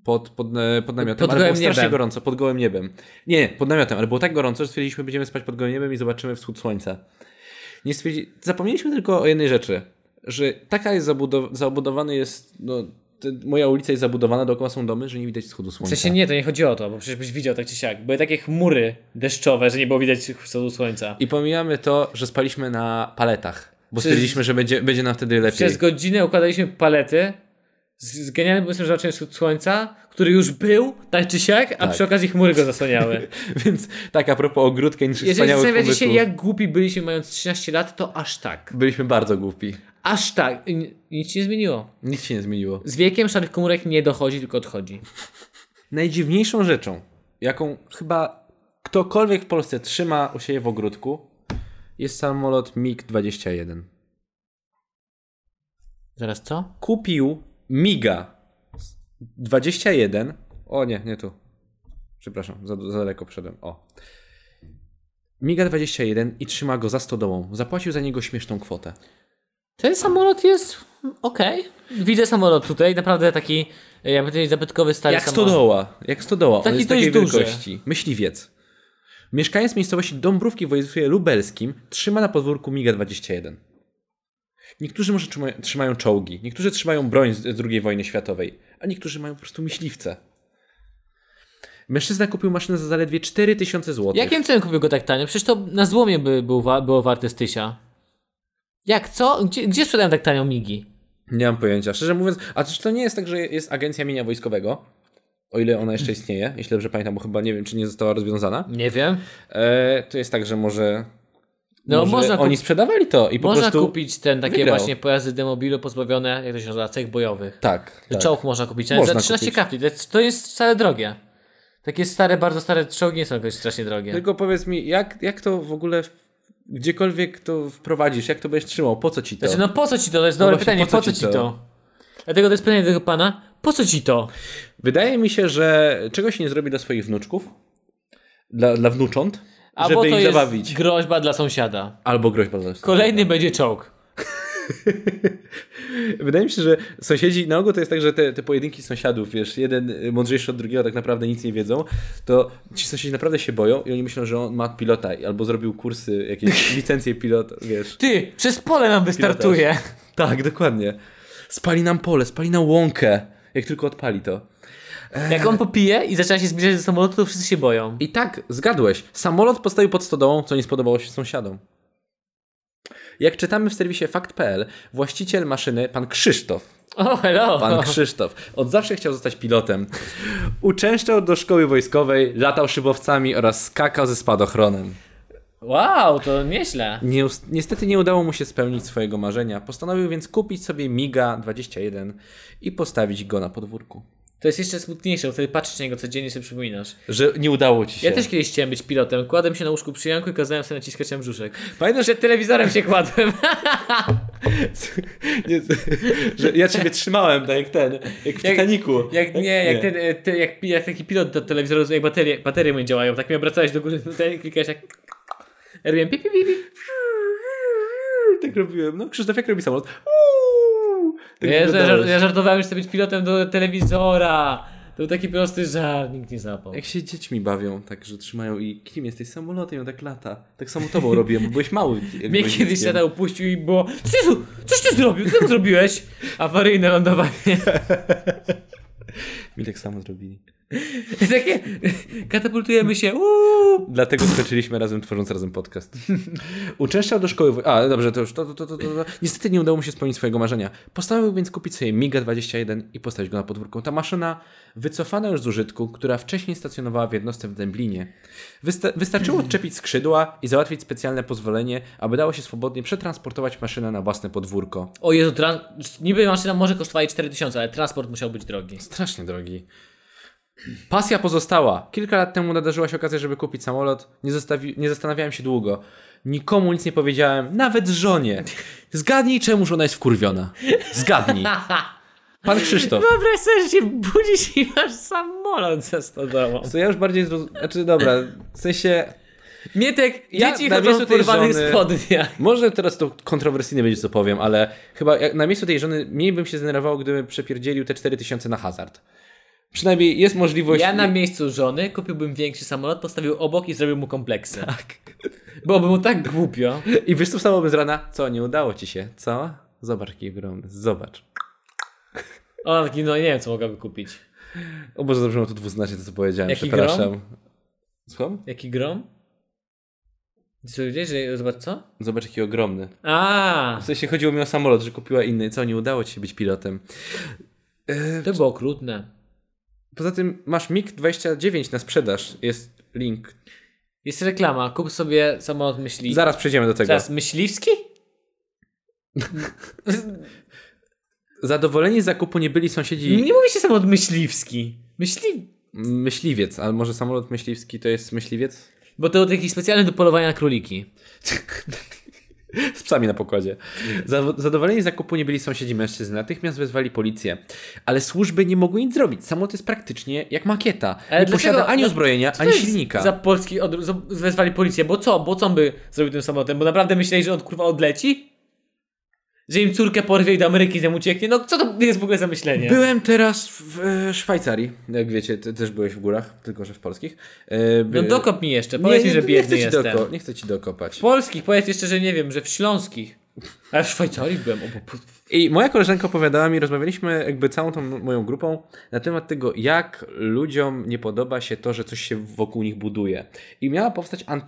[SPEAKER 2] pod, pod, e, pod namiotem,
[SPEAKER 1] Pod
[SPEAKER 2] ale było
[SPEAKER 1] gołym
[SPEAKER 2] strasznie
[SPEAKER 1] niebem.
[SPEAKER 2] gorąco, pod gołym niebem. Nie, nie, pod namiotem, ale było tak gorąco, że stwierdziliśmy, że będziemy spać pod gołym niebem i zobaczymy wschód słońca. Nie stwierdzi... Zapomnieliśmy tylko o jednej rzeczy, że taka jest zabudow- zabudowany jest, no, te, moja ulica jest zabudowana, dookoła są domy, że nie widać wschodu
[SPEAKER 1] W
[SPEAKER 2] słońca.
[SPEAKER 1] sensie nie, to nie chodziło o to, bo przecież byś widział tak czy siak. Były takie chmury deszczowe, że nie było widać wschodu słońca.
[SPEAKER 2] I pomijamy to, że spaliśmy na paletach, bo
[SPEAKER 1] Przez-
[SPEAKER 2] stwierdziliśmy, że będzie, będzie nam wtedy lepiej.
[SPEAKER 1] Przez godzinę układaliśmy palety z, z genialnym pomysłem, że zobaczyłem wschód słońca, który już był, tak czy siak, a przy okazji chmury go zasłaniały.
[SPEAKER 2] Więc tak, a propos ogródka i naszych
[SPEAKER 1] Jeżeli
[SPEAKER 2] wspaniałych
[SPEAKER 1] zastanawiacie się,
[SPEAKER 2] pomysłów,
[SPEAKER 1] jak głupi byliśmy mając 13 lat, to aż tak.
[SPEAKER 2] byliśmy bardzo głupi.
[SPEAKER 1] Aż tak. I ni- Nic się nie zmieniło.
[SPEAKER 2] Nic się nie zmieniło.
[SPEAKER 1] Z wiekiem szarych komórek nie dochodzi, tylko odchodzi.
[SPEAKER 2] Najdziwniejszą rzeczą, jaką chyba ktokolwiek w Polsce trzyma u siebie w ogródku, jest samolot MiG-21.
[SPEAKER 1] Zaraz co?
[SPEAKER 2] Kupił MiGa 21. O nie, nie tu. Przepraszam, za, za daleko przedem. O. MiGa 21 i trzyma go za stodołą. Zapłacił za niego śmieszną kwotę.
[SPEAKER 1] Ten samolot jest okej. Widzę samolot tutaj, naprawdę taki, jakby to jest zabytkowy stary
[SPEAKER 2] Jak
[SPEAKER 1] samolot.
[SPEAKER 2] stodoła. Jak stodoła.
[SPEAKER 1] Taki
[SPEAKER 2] On jest
[SPEAKER 1] dość
[SPEAKER 2] takiej
[SPEAKER 1] duży.
[SPEAKER 2] wielkości. Myśliwiec. Mieszkając w miejscowości Dąbrówki w województwie lubelskim, trzyma na podwórku MiGa-21. Niektórzy może trzyma, trzymają czołgi, niektórzy trzymają broń z z II wojny światowej, a niektórzy mają po prostu myśliwce. Mężczyzna kupił maszynę za zaledwie 4000 zł.
[SPEAKER 1] Jakim cenem kupił go tak tanio? Przecież to na złomie by był wa- było warte z tysia. Jak, co? Gdzie, gdzie sprzedają tak tanio migi?
[SPEAKER 2] Nie mam pojęcia. Szczerze mówiąc, a czy to nie jest tak, że jest agencja mienia wojskowego? O ile ona jeszcze istnieje, jeśli dobrze pamiętam, bo chyba nie wiem, czy nie została rozwiązana.
[SPEAKER 1] Nie wiem.
[SPEAKER 2] E, to jest tak, że może.
[SPEAKER 1] No,
[SPEAKER 2] może
[SPEAKER 1] można
[SPEAKER 2] oni
[SPEAKER 1] kup-
[SPEAKER 2] sprzedawali to i po
[SPEAKER 1] Można
[SPEAKER 2] prostu.
[SPEAKER 1] kupić ten, takie
[SPEAKER 2] wygrał.
[SPEAKER 1] właśnie pojazdy demobilu pozbawione, jak to się nazywa, cech bojowych.
[SPEAKER 2] Tak.
[SPEAKER 1] Że
[SPEAKER 2] tak.
[SPEAKER 1] Czołg można kupić, ale
[SPEAKER 2] Można
[SPEAKER 1] za 13
[SPEAKER 2] kupić.
[SPEAKER 1] kapli. To jest- To jest wcale drogie. Takie stare, bardzo stare czołgi nie są jakoś strasznie drogie.
[SPEAKER 2] Tylko powiedz mi, jak, jak to w ogóle. w- Gdziekolwiek to wprowadzisz, jak to będziesz trzymał? Po co ci to?
[SPEAKER 1] Znaczy, no po co ci to? To jest dobre
[SPEAKER 2] właśnie,
[SPEAKER 1] pytanie, po co, ci to? Dlatego to jest pytanie do tego pana, po co ci to?
[SPEAKER 2] Wydaje mi się, że czegoś nie zrobi dla swoich wnuczków, dla, dla wnucząt,
[SPEAKER 1] Albo
[SPEAKER 2] żeby
[SPEAKER 1] to
[SPEAKER 2] ich
[SPEAKER 1] jest
[SPEAKER 2] zabawić.
[SPEAKER 1] groźba dla sąsiada.
[SPEAKER 2] Albo groźba za
[SPEAKER 1] Kolejny będzie czołg.
[SPEAKER 2] Wydaje mi się, że sąsiedzi, na ogół to jest tak, że te, te pojedynki sąsiadów, wiesz, jeden y, mądrzejszy od drugiego tak naprawdę nic nie wiedzą, to ci sąsiedzi naprawdę się boją i oni myślą, że on ma pilota i- albo zrobił kursy, jakieś licencje pilota, wiesz.
[SPEAKER 1] Ty, przez pole nam wystartuje.
[SPEAKER 2] Tak, dokładnie. Spali nam pole, spali nam łąkę, jak tylko odpali to.
[SPEAKER 1] Jak on popije i zaczyna się zbliżać do samolotu, to wszyscy się boją.
[SPEAKER 2] I tak, zgadłeś. Samolot postawił pod stodołą, co nie spodobało się sąsiadom. Jak czytamy w serwisie fakt.pl, właściciel maszyny, pan Krzysztof,
[SPEAKER 1] O, hello!
[SPEAKER 2] Pan Krzysztof. Od zawsze chciał zostać pilotem. Uczęszczał do szkoły wojskowej, latał szybowcami oraz skakał ze spadochronem.
[SPEAKER 1] Wow, to nieźle.
[SPEAKER 2] Nie, niestety nie udało mu się spełnić swojego marzenia. Postanowił więc kupić sobie Miga 21 i postawić go na podwórku.
[SPEAKER 1] To jest jeszcze smutniejsze, bo wtedy patrzysz na niego codziennie i sobie przypominasz.
[SPEAKER 2] Że nie udało ci się.
[SPEAKER 1] Ja też kiedyś chciałem być pilotem. Kładłem się na łóżku przy Janku i kazałem sobie naciskać na brzuszek.
[SPEAKER 2] Pamiętasz, że...
[SPEAKER 1] Przed telewizorem się kładłem.
[SPEAKER 2] nie, że ja ciebie trzymałem, tak jak ten, jak w
[SPEAKER 1] Jak-
[SPEAKER 2] Titaniku.
[SPEAKER 1] Jak nie, jak, ten, e, te, jak, pi- jak taki pilot do telewizora, jak baterie, baterie mu nie działają, tak mi obracałeś do góry, tutaj klikałeś jak... Ja Robiłem pi, pi, pi, pi.
[SPEAKER 2] Tak robiłem. No Krzysztof, jak robi samolot? Uuu, tak
[SPEAKER 1] Jezu, ja, żar-
[SPEAKER 2] wyglądałeś.
[SPEAKER 1] ja żartowałem, że chcę być pilotem do telewizora. To był taki prosty żart, nikt nie zapał.
[SPEAKER 2] Jak się dziećmi bawią, tak, że trzymają i kim jesteś samolotem i on tak lata. Tak samo tobą robiłem, bo byłeś mały. jak
[SPEAKER 1] Mnie
[SPEAKER 2] byłeś
[SPEAKER 1] kiedyś
[SPEAKER 2] dzieckiem.
[SPEAKER 1] siada upuścił i było Jezu, coś ty zrobił, co ty zrobiłeś? Awaryjne lądowanie.
[SPEAKER 2] Mi tak samo zrobili.
[SPEAKER 1] Takie, katapultujemy się, uuu.
[SPEAKER 2] Dlatego skończyliśmy razem, tworząc razem podcast. Uczęszczał do szkoły... wo- A, dobrze, to już... To, to, to, to, to. Niestety nie udało mu się spełnić swojego marzenia. Postanowił więc kupić sobie Miga 21 i postawić go na podwórku. Ta maszyna, wycofana już z użytku, która wcześniej stacjonowała w jednostce w Dęblinie. Wysta- wystarczyło odczepić skrzydła i załatwić specjalne pozwolenie, aby dało się swobodnie przetransportować maszynę na własne podwórko.
[SPEAKER 1] O Jezu, trans- niby maszyna może kosztować 4000, ale transport musiał być drogi.
[SPEAKER 2] Strasznie drogi. Pasja pozostała. Kilka lat temu nadarzyła się okazja, żeby kupić samolot. Nie, zostawi... nie zastanawiałem się długo. Nikomu nic nie powiedziałem, nawet żonie. Zgadnij, czemu żona jest wkurwiona. Zgadnij. Pan Krzysztof.
[SPEAKER 1] Wyobraź sobie, że się budzisz i masz samolot za stodołą.
[SPEAKER 2] Co ja już bardziej zrozumiałem. Znaczy, dobra, w sensie.
[SPEAKER 1] Mietek,
[SPEAKER 2] Ja
[SPEAKER 1] dzieci
[SPEAKER 2] na
[SPEAKER 1] chodzą
[SPEAKER 2] miejscu
[SPEAKER 1] w
[SPEAKER 2] tej
[SPEAKER 1] porwanych
[SPEAKER 2] żony-
[SPEAKER 1] spodniach.
[SPEAKER 2] Może teraz to kontrowersyjnie będzie, co powiem, ale chyba jak na miejscu tej żony mniej bym się zdenerwował, gdybym przepierdzielił te 4000 na hazard. Przynajmniej jest możliwość.
[SPEAKER 1] Ja na miejscu żony kupiłbym większy samolot, postawił obok i zrobił mu kompleksy.
[SPEAKER 2] Tak.
[SPEAKER 1] Byłoby mu tak głupio.
[SPEAKER 2] I wiesz, co wstawałbym z rana? Co, nie udało ci się? Co? Zobacz, jaki ogromny. Zobacz.
[SPEAKER 1] O, taki, no nie wiem, co mogłaby kupić.
[SPEAKER 2] O Boże, dobrze, mam to dwuznacznie to, co powiedziałem.
[SPEAKER 1] Jaki
[SPEAKER 2] Przepraszam. Słucham?
[SPEAKER 1] No,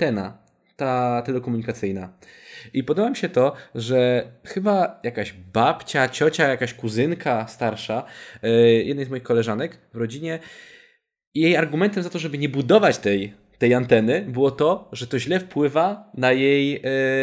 [SPEAKER 2] E,
[SPEAKER 1] No,
[SPEAKER 2] ta telekomunikacyjna. I podoba mi się to, że chyba jakaś babcia, ciocia, jakaś kuzynka starsza, yy, jednej z moich koleżanek w rodzinie, jej argumentem za to, żeby nie budować tej, tej anteny, było to, że to źle wpływa na jej, yy,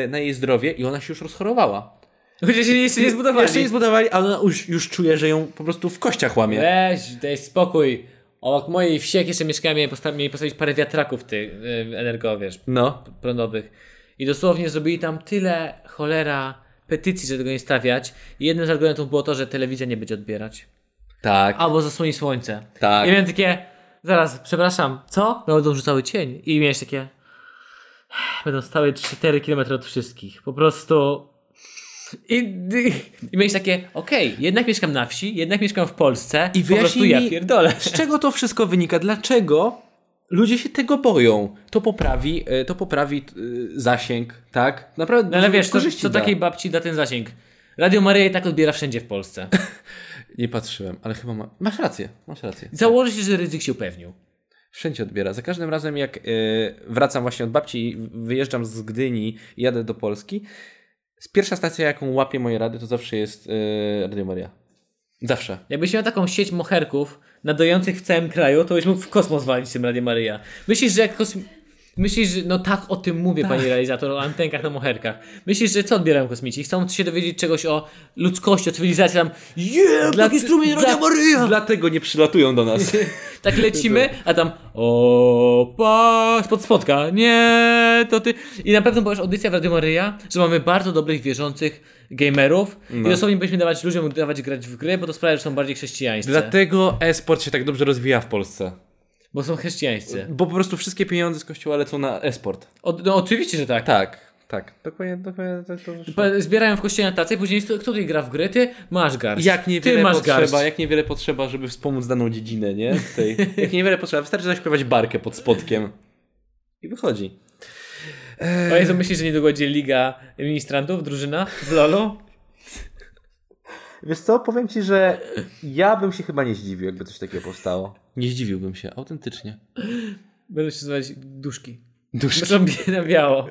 [SPEAKER 2] na jej zdrowie i ona się już rozchorowała.
[SPEAKER 1] Ludzie się jeszcze nie zbudowali.
[SPEAKER 2] Jeszcze nie zbudowali, ale ona już, już czuje, że ją po prostu w kościach łamie.
[SPEAKER 1] Weź, daj spokój. Obok mojej wsi, jak jeszcze mieszkałem, mieli, posta- mieli postawić parę wiatraków tych y, energo, wiesz,
[SPEAKER 2] No.
[SPEAKER 1] prądowych. I dosłownie zrobili tam tyle cholera petycji, że tego nie stawiać. I jednym z argumentów było to, że telewizja nie będzie odbierać.
[SPEAKER 2] Tak.
[SPEAKER 1] Albo zasłoni słońce.
[SPEAKER 2] Tak.
[SPEAKER 1] I miałem takie, zaraz, przepraszam, co? No, Będą rzucały cień. I miałeś takie, będą stały 4 km od wszystkich. Po prostu... I, i, i miałeś takie, okej, jednak mieszkam na wsi, jednak mieszkam w Polsce.
[SPEAKER 2] I
[SPEAKER 1] po prostu
[SPEAKER 2] wyjaśnij
[SPEAKER 1] ja
[SPEAKER 2] mi-
[SPEAKER 1] pierdolę.
[SPEAKER 2] Z czego to wszystko wynika? Dlaczego ludzie się tego boją? To poprawi, e, to poprawi e, zasięg, tak? Naprawdę.
[SPEAKER 1] No ale
[SPEAKER 2] dużo
[SPEAKER 1] wiesz, co,
[SPEAKER 2] korzyści
[SPEAKER 1] co
[SPEAKER 2] da.
[SPEAKER 1] takiej babci da ten zasięg? Radio Maryja i tak odbiera wszędzie w Polsce.
[SPEAKER 2] Nie patrzyłem, ale chyba ma... masz rację, masz rację.
[SPEAKER 1] Założy się, że ryzyk się upewnił.
[SPEAKER 2] Wszędzie odbiera. Za każdym razem, jak e, wracam właśnie od babci i wyjeżdżam z Gdyni i jadę do Polski, z pierwsza stacja, jaką łapię moje rady, to zawsze jest e, Radio Maria. Zawsze.
[SPEAKER 1] Jakbyś miał taką sieć moherków nadających w całym kraju, to byś mógł w kosmos walić tym Radio Maryja. Myślisz, że jak kosmi... Myślisz, że no tak o tym mówię, pani realizator, o antenkach na moherkach. Myślisz, że co odbierają kosmici? Chcą się dowiedzieć czegoś o ludzkości, o cywilizacji, tam yeah, dla, taki strumień Radio Maryja!
[SPEAKER 2] Dlatego nie przylatują do nas.
[SPEAKER 1] Tak lecimy, a tam o pa, spod spotka, nie, to ty. I na pewno powiesz audycja w Radio Maryja, że mamy bardzo dobrych, wierzących gamerów i dosłownie będziemy dawać ludziom dawać grać w gry, bo to sprawia, że są bardziej chrześcijańscy.
[SPEAKER 2] Dlatego e-sport się tak dobrze rozwija w Polsce.
[SPEAKER 1] Bo są chrześcijańscy.
[SPEAKER 2] Bo po prostu wszystkie pieniądze z kościoła lecą na e-sport.
[SPEAKER 1] O, no oczywiście, że tak.
[SPEAKER 2] Tak, tak. Dokładnie, dokładnie to, to wyszło.
[SPEAKER 1] Pa- Zbierają w kościele na tacy, później kto tutaj gra w gry, ty masz garść.
[SPEAKER 2] Jak niewiele
[SPEAKER 1] ty masz garść.
[SPEAKER 2] potrzeba, jak niewiele potrzeba, żeby wspomóc daną dziedzinę, nie? Tej. Jak niewiele potrzeba, wystarczy zaśpiewać barkę pod spodkiem. I wychodzi.
[SPEAKER 1] O Jezu, myślisz, że niedługo będzie liga ministrantów, drużyna w LoLu?
[SPEAKER 2] Wiesz co, powiem ci, że ja bym się chyba nie zdziwił, jakby coś takiego powstało. Nie zdziwiłbym się, autentycznie.
[SPEAKER 1] Będą się nazywać duszki.
[SPEAKER 2] Duszki.
[SPEAKER 1] Będą bie- na biało.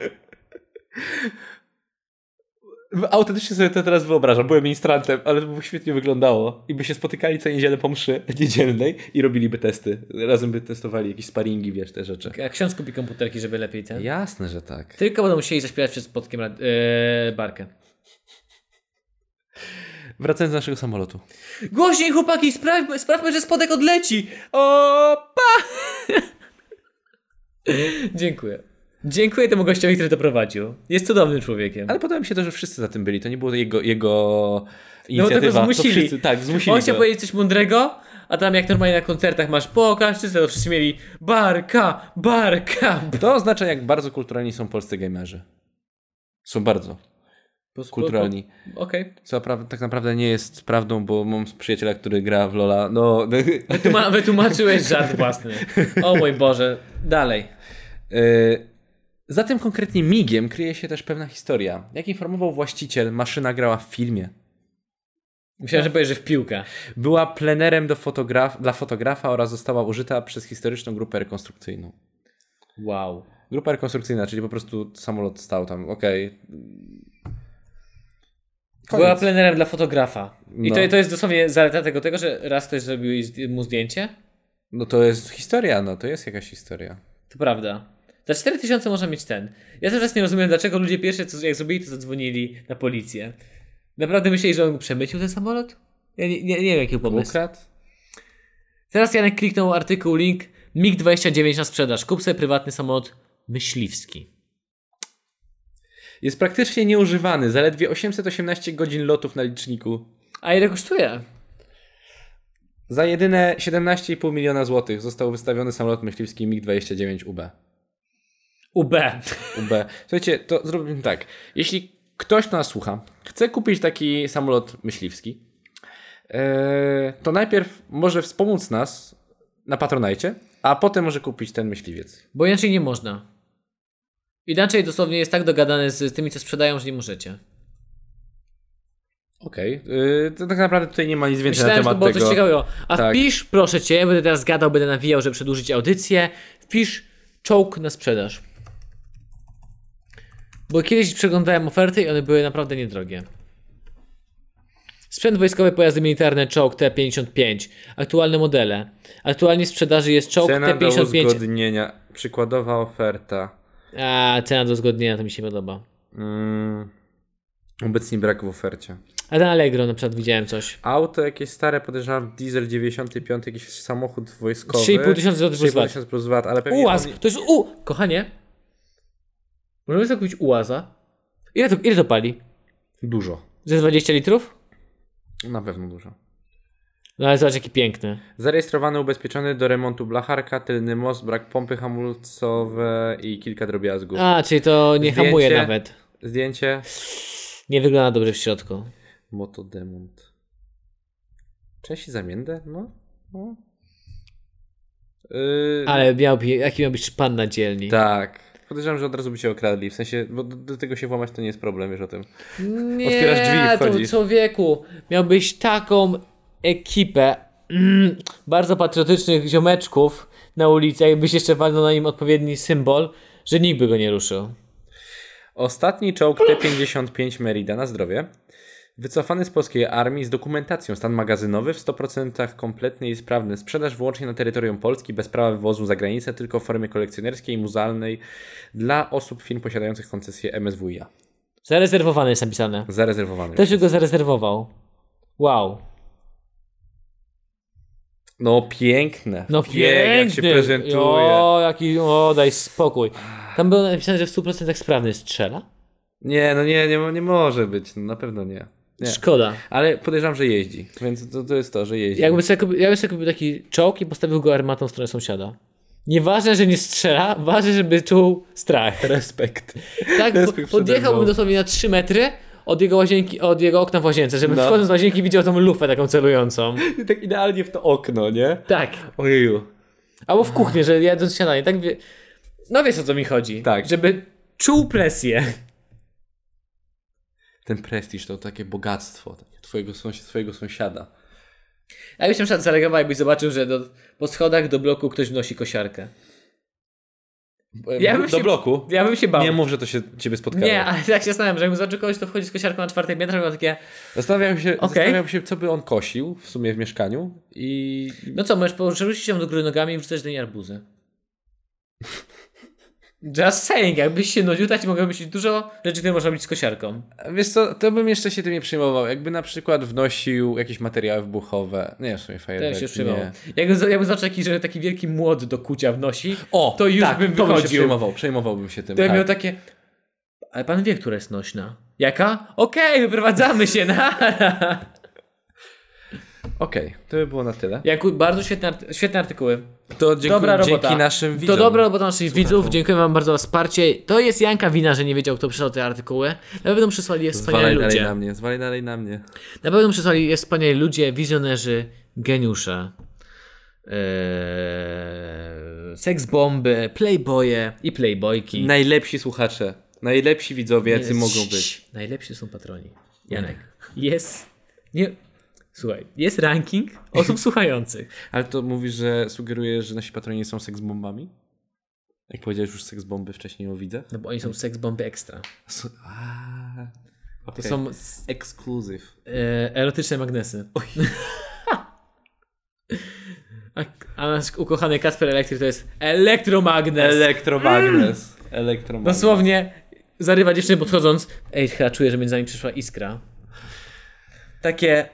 [SPEAKER 2] Autentycznie sobie to teraz wyobrażam. Byłem ministrantem, ale to by świetnie wyglądało. I by się spotykali co niedzielę po mszy niedzielnej i robiliby testy. Razem by testowali jakieś sparingi, wiesz, te rzeczy.
[SPEAKER 1] A ksiądz kupi komputerki, żeby lepiej ten.
[SPEAKER 2] Jasne, że tak.
[SPEAKER 1] Tylko będą musieli zaśpiewać przed spotkiem rad- yy, barkę.
[SPEAKER 2] Wracając do naszego samolotu.
[SPEAKER 1] Głośniej chłopaki, spraw, sprawmy, że spodek odleci. Opa! Dziękuję. Dziękuję temu gościowi, który to prowadził. Jest cudownym człowiekiem.
[SPEAKER 2] Ale podoba mi się to, że wszyscy za tym byli. To nie było jego, jego
[SPEAKER 1] No bo
[SPEAKER 2] inicjatywa.
[SPEAKER 1] tego zmusili.
[SPEAKER 2] To wszyscy, tak, zmusili
[SPEAKER 1] On chciał
[SPEAKER 2] go.
[SPEAKER 1] powiedzieć coś mądrego, a tam jak normalnie na koncertach masz pokaż, czy to wszyscy mieli barka, barka.
[SPEAKER 2] To oznacza, jak bardzo kulturalni są polscy gamerzy. Są bardzo kulturalni.
[SPEAKER 1] Okej.
[SPEAKER 2] Co pra- tak naprawdę nie jest prawdą, bo mam przyjaciela, który gra w Lola. No,
[SPEAKER 1] Tuma- wytłumaczyłeś żart własny. O mój Boże. Dalej.
[SPEAKER 2] Yy, Za tym konkretnie migiem kryje się też pewna historia. Jak informował właściciel, maszyna grała w filmie.
[SPEAKER 1] Myślałem, że powiesz, że w piłkę.
[SPEAKER 2] Była plenerem do fotograf- dla fotografa oraz została użyta przez historyczną grupę rekonstrukcyjną.
[SPEAKER 1] Wow.
[SPEAKER 2] Grupa rekonstrukcyjna, czyli po prostu samolot stał tam, okej.
[SPEAKER 1] Była
[SPEAKER 2] Koniec.
[SPEAKER 1] plenerem dla fotografa. I
[SPEAKER 2] No.
[SPEAKER 1] to, to jest dosłownie zaleta tego, tego, że raz ktoś zrobił jej zdj- mu zdjęcie.
[SPEAKER 2] No to jest historia, no to jest jakaś historia.
[SPEAKER 1] To prawda. Za 4000 można mieć ten. Ja też nie rozumiem, dlaczego ludzie pierwsze, co, jak zrobili, to zadzwonili na policję. Naprawdę myśleli, że on przemycił ten samolot? Ja nie, nie, nie wiem, jaki był pomysł.
[SPEAKER 2] Ukradł?
[SPEAKER 1] Teraz Janek kliknął artykuł link MiG-29 na sprzedaż. Kup sobie prywatny samolot myśliwski.
[SPEAKER 2] Jest praktycznie nieużywany, zaledwie 818 godzin lotów na liczniku.
[SPEAKER 1] A ile kosztuje?
[SPEAKER 2] Za jedyne 17,5 miliona złotych został wystawiony samolot myśliwski MiG-29UB.
[SPEAKER 1] UB.
[SPEAKER 2] UB. Słuchajcie, to zrobimy tak. Jeśli ktoś nas słucha, chce kupić taki samolot myśliwski, e, to najpierw może wspomóc nas na Patronajcie, a potem może kupić ten myśliwiec.
[SPEAKER 1] Bo inaczej nie można. Inaczej dosłownie jest tak dogadane z tymi, co sprzedają, że nie możecie.
[SPEAKER 2] Okej. E, To tak naprawdę tutaj nie ma nic więcej
[SPEAKER 1] Myślałem,
[SPEAKER 2] na
[SPEAKER 1] że to
[SPEAKER 2] temat
[SPEAKER 1] było
[SPEAKER 2] tego.
[SPEAKER 1] coś ciekawego. A
[SPEAKER 2] Tak.
[SPEAKER 1] wpisz, proszę cię, będę teraz gadał, będę nawijał, żeby przedłużyć audycję. Wpisz czołg na sprzedaż. Bo kiedyś przeglądałem oferty i one były naprawdę niedrogie. Sprzęt wojskowy, pojazdy militarne, czołg T-55. Aktualne modele. Aktualnie w sprzedaży jest czołg
[SPEAKER 2] Cena do
[SPEAKER 1] T-55.
[SPEAKER 2] uzgodnienia. Przykładowa oferta.
[SPEAKER 1] A, cena do zgodnienia, to mi się podoba.
[SPEAKER 2] Mm. Obecnie brak w ofercie.
[SPEAKER 1] A na Allegro na przykład widziałem coś.
[SPEAKER 2] Auto jakieś stare, podejrzewam, diesel 95, jakiś samochód wojskowy.
[SPEAKER 1] 3,5 tysiąca złotych plus
[SPEAKER 2] 3,5
[SPEAKER 1] VAT.
[SPEAKER 2] tysiąca plus VAT, ale pewnie
[SPEAKER 1] Ułaz!
[SPEAKER 2] on-
[SPEAKER 1] To jest u... Kochanie. Możemy sobie kupić ułaza? Ile to, ile to pali?
[SPEAKER 2] Dużo.
[SPEAKER 1] Ze 20 litrów?
[SPEAKER 2] Na pewno dużo.
[SPEAKER 1] No ale zobacz jaki piękny.
[SPEAKER 2] Zarejestrowany, ubezpieczony do remontu blacharka, tylny most, brak pompy hamulcowe i kilka drobiazgów.
[SPEAKER 1] A, czyli to nie
[SPEAKER 2] Zdjęcie.
[SPEAKER 1] hamuje nawet.
[SPEAKER 2] Zdjęcie.
[SPEAKER 1] Nie wygląda dobrze w środku.
[SPEAKER 2] Motodemont. Części zamienne? No. no. Yy,
[SPEAKER 1] Ale miał, jaki miał być pan na dzielni.
[SPEAKER 2] Tak. Podejrzewam, że od razu by się okradli. W sensie, bo do, do tego się włamać to nie jest problem, wiesz o tym.
[SPEAKER 1] Nie,
[SPEAKER 2] Otwierasz drzwi i
[SPEAKER 1] to
[SPEAKER 2] wchodzisz.
[SPEAKER 1] człowieku, miałbyś taką ekipę mm, bardzo patriotycznych ziomeczków na ulicy, jakbyś jeszcze walnął na nim odpowiedni symbol, że nikt by go nie ruszył.
[SPEAKER 2] Ostatni czołg T-55 Merida na zdrowie. Wycofany z polskiej armii z dokumentacją stan magazynowy w 100% kompletny i sprawny. Sprzedaż wyłącznie na terytorium Polski bez prawa wywozu za granicę, tylko w formie kolekcjonerskiej i muzealnej dla osób firm posiadających koncesję MSWiA.
[SPEAKER 1] Zarezerwowany jest napisane.
[SPEAKER 2] Zarezerwowany.
[SPEAKER 1] Ktoś by go zarezerwował. Wow.
[SPEAKER 2] No piękne.
[SPEAKER 1] No piękny.
[SPEAKER 2] Jak się prezentuje.
[SPEAKER 1] O, jaki, o, daj spokój. Tam było napisane, że w 100% sprawny strzela?
[SPEAKER 2] Nie, no nie, nie, mo- nie może być. No, na pewno nie. nie.
[SPEAKER 1] Szkoda.
[SPEAKER 2] Ale podejrzewam, że jeździ. Więc to, to jest to, że jeździ.
[SPEAKER 1] Jakby sobie, kupił, jakby sobie kupił taki czołg i postawił go armatą w stronę sąsiada. Nieważne, że nie strzela, ważne, żeby czuł strach.
[SPEAKER 2] Respekt.
[SPEAKER 1] Tak,
[SPEAKER 2] Teraz
[SPEAKER 1] po-
[SPEAKER 2] mi przede mną.
[SPEAKER 1] podjechałbym dosłownie na 3 metry od jego, łazienki, od jego okna w łazience, żeby
[SPEAKER 2] No.
[SPEAKER 1] wchodząc z łazienki widział tą lufę taką celującą.
[SPEAKER 2] tak idealnie w to okno, nie?
[SPEAKER 1] Tak.
[SPEAKER 2] Ojeju.
[SPEAKER 1] Albo w kuchni, że jadąc śniadanie, tak wie... No wiesz o co mi chodzi.
[SPEAKER 2] Tak.
[SPEAKER 1] Żeby czuł presję.
[SPEAKER 2] Ten prestiż to takie bogactwo takie twojego, sąsi- swojego sąsiada.
[SPEAKER 1] Ja byś na przykład zareagował, jakbyś zobaczył, że do, po schodach do bloku ktoś wnosi kosiarkę. Ja bym
[SPEAKER 2] Do
[SPEAKER 1] się-
[SPEAKER 2] bloku?
[SPEAKER 1] Ja bym się bał.
[SPEAKER 2] Nie mów, że to się ciebie spotkało.
[SPEAKER 1] Nie, ale tak się zastanawiam, że jakbym zobaczył kogoś, kto wchodzi z kosiarką na czwartej piętrze, miał takie...
[SPEAKER 2] Zastanawiam się,
[SPEAKER 1] Okej.
[SPEAKER 2] zastanawiam się, co by on kosił w sumie w mieszkaniu i...
[SPEAKER 1] No co, możesz porzucić się do góry nogami i wrzucać do niej arbuzy. Just saying, jakbyś się nudził, to ci mogę myśleć dużo rzeczy, które można robić z kosiarką.
[SPEAKER 2] Wiesz co, to bym jeszcze się tym nie przejmował. Jakby na przykład wnosił jakieś materiały wybuchowe. Nie, w sumie
[SPEAKER 1] To ja bym
[SPEAKER 2] fajerwerki.
[SPEAKER 1] się przyjmował.
[SPEAKER 2] nie.
[SPEAKER 1] Jakbym, z- jakbym zobaczył taki, że taki wielki młot do kucia wnosi,
[SPEAKER 2] O,
[SPEAKER 1] to już
[SPEAKER 2] tak,
[SPEAKER 1] bym
[SPEAKER 2] to bym się
[SPEAKER 1] wychodził.
[SPEAKER 2] przejmował. Przejmowałbym się tym.
[SPEAKER 1] to ja miał
[SPEAKER 2] Tak.
[SPEAKER 1] takie... Ale pan wie, która jest nośna. Jaka? Okej, wyprowadzamy się na...
[SPEAKER 2] Okej, to by było na tyle.
[SPEAKER 1] Jaku, bardzo świetne, art- świetne artykuły.
[SPEAKER 2] To dziękuję,
[SPEAKER 1] Dobra robota.
[SPEAKER 2] dzięki naszym widzom.
[SPEAKER 1] To dobra robota naszych widzów. Dziękuję wam bardzo za wsparcie. To jest Janka wina, że nie wiedział, kto przysłał te artykuły. Na pewno przysłali je wspaniali
[SPEAKER 2] Zwalaj dalej
[SPEAKER 1] ludzie.
[SPEAKER 2] na mnie, zwalaj dalej na mnie.
[SPEAKER 1] Na pewno przysłali je wspaniali ludzie, wizjonerzy, geniusze. Eee, seks bomby, playboye i playboyki.
[SPEAKER 2] Najlepsi słuchacze, najlepsi widzowie, jacy
[SPEAKER 1] Nie,
[SPEAKER 2] mogą
[SPEAKER 1] cii,
[SPEAKER 2] być.
[SPEAKER 1] Najlepsi są patroni. Janek. Jest. Nie. Słuchaj, jest ranking osób słuchających.
[SPEAKER 2] Ale to mówisz, że sugerujesz, że nasi patroni są seksbombami? Jak powiedziałeś już seksbomby, wcześniej o widzę.
[SPEAKER 1] No bo oni są seks bomby ekstra.
[SPEAKER 2] S- aaa,
[SPEAKER 1] To
[SPEAKER 2] okej.
[SPEAKER 1] są s-
[SPEAKER 2] Exclusive.
[SPEAKER 1] E, erotyczne magnesy. A, a nasz ukochany Kasper Elektryk to jest elektromagnes.
[SPEAKER 2] Elektromagnes. Elektromagnes.
[SPEAKER 1] Dosłownie zarywa dziewczynę podchodząc. Ej, chyba czuję, że między nami przyszła iskra. Takie,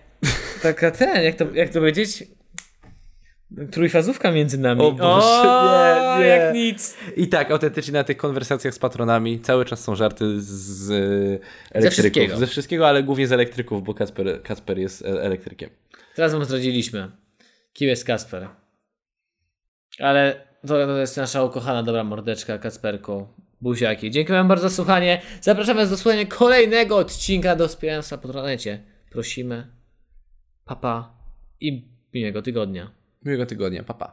[SPEAKER 1] taka ten, jak to, jak to powiedzieć? Trójfazówka między nami.
[SPEAKER 2] O Boże,
[SPEAKER 1] O,
[SPEAKER 2] nie, nie.
[SPEAKER 1] jak nic.
[SPEAKER 2] I tak, autentycznie na tych konwersacjach z patronami cały czas są żarty z- z e, elektryków.
[SPEAKER 1] wszystkiego.
[SPEAKER 2] Ze wszystkiego, ale głównie z elektryków, bo Kasper, Kasper jest e, elektrykiem.
[SPEAKER 1] Teraz wam zdradziliśmy, kim jest Kasper. Ale to, to jest nasza ukochana dobra mordeczka Kasperku. Buziaki. Dziękuję wam bardzo za słuchanie. Zapraszam was do słuchania kolejnego odcinka do wspierania na Patronecie. Prosimy. Papa i miłego tygodnia.
[SPEAKER 2] Miłego tygodnia, papa. Pa.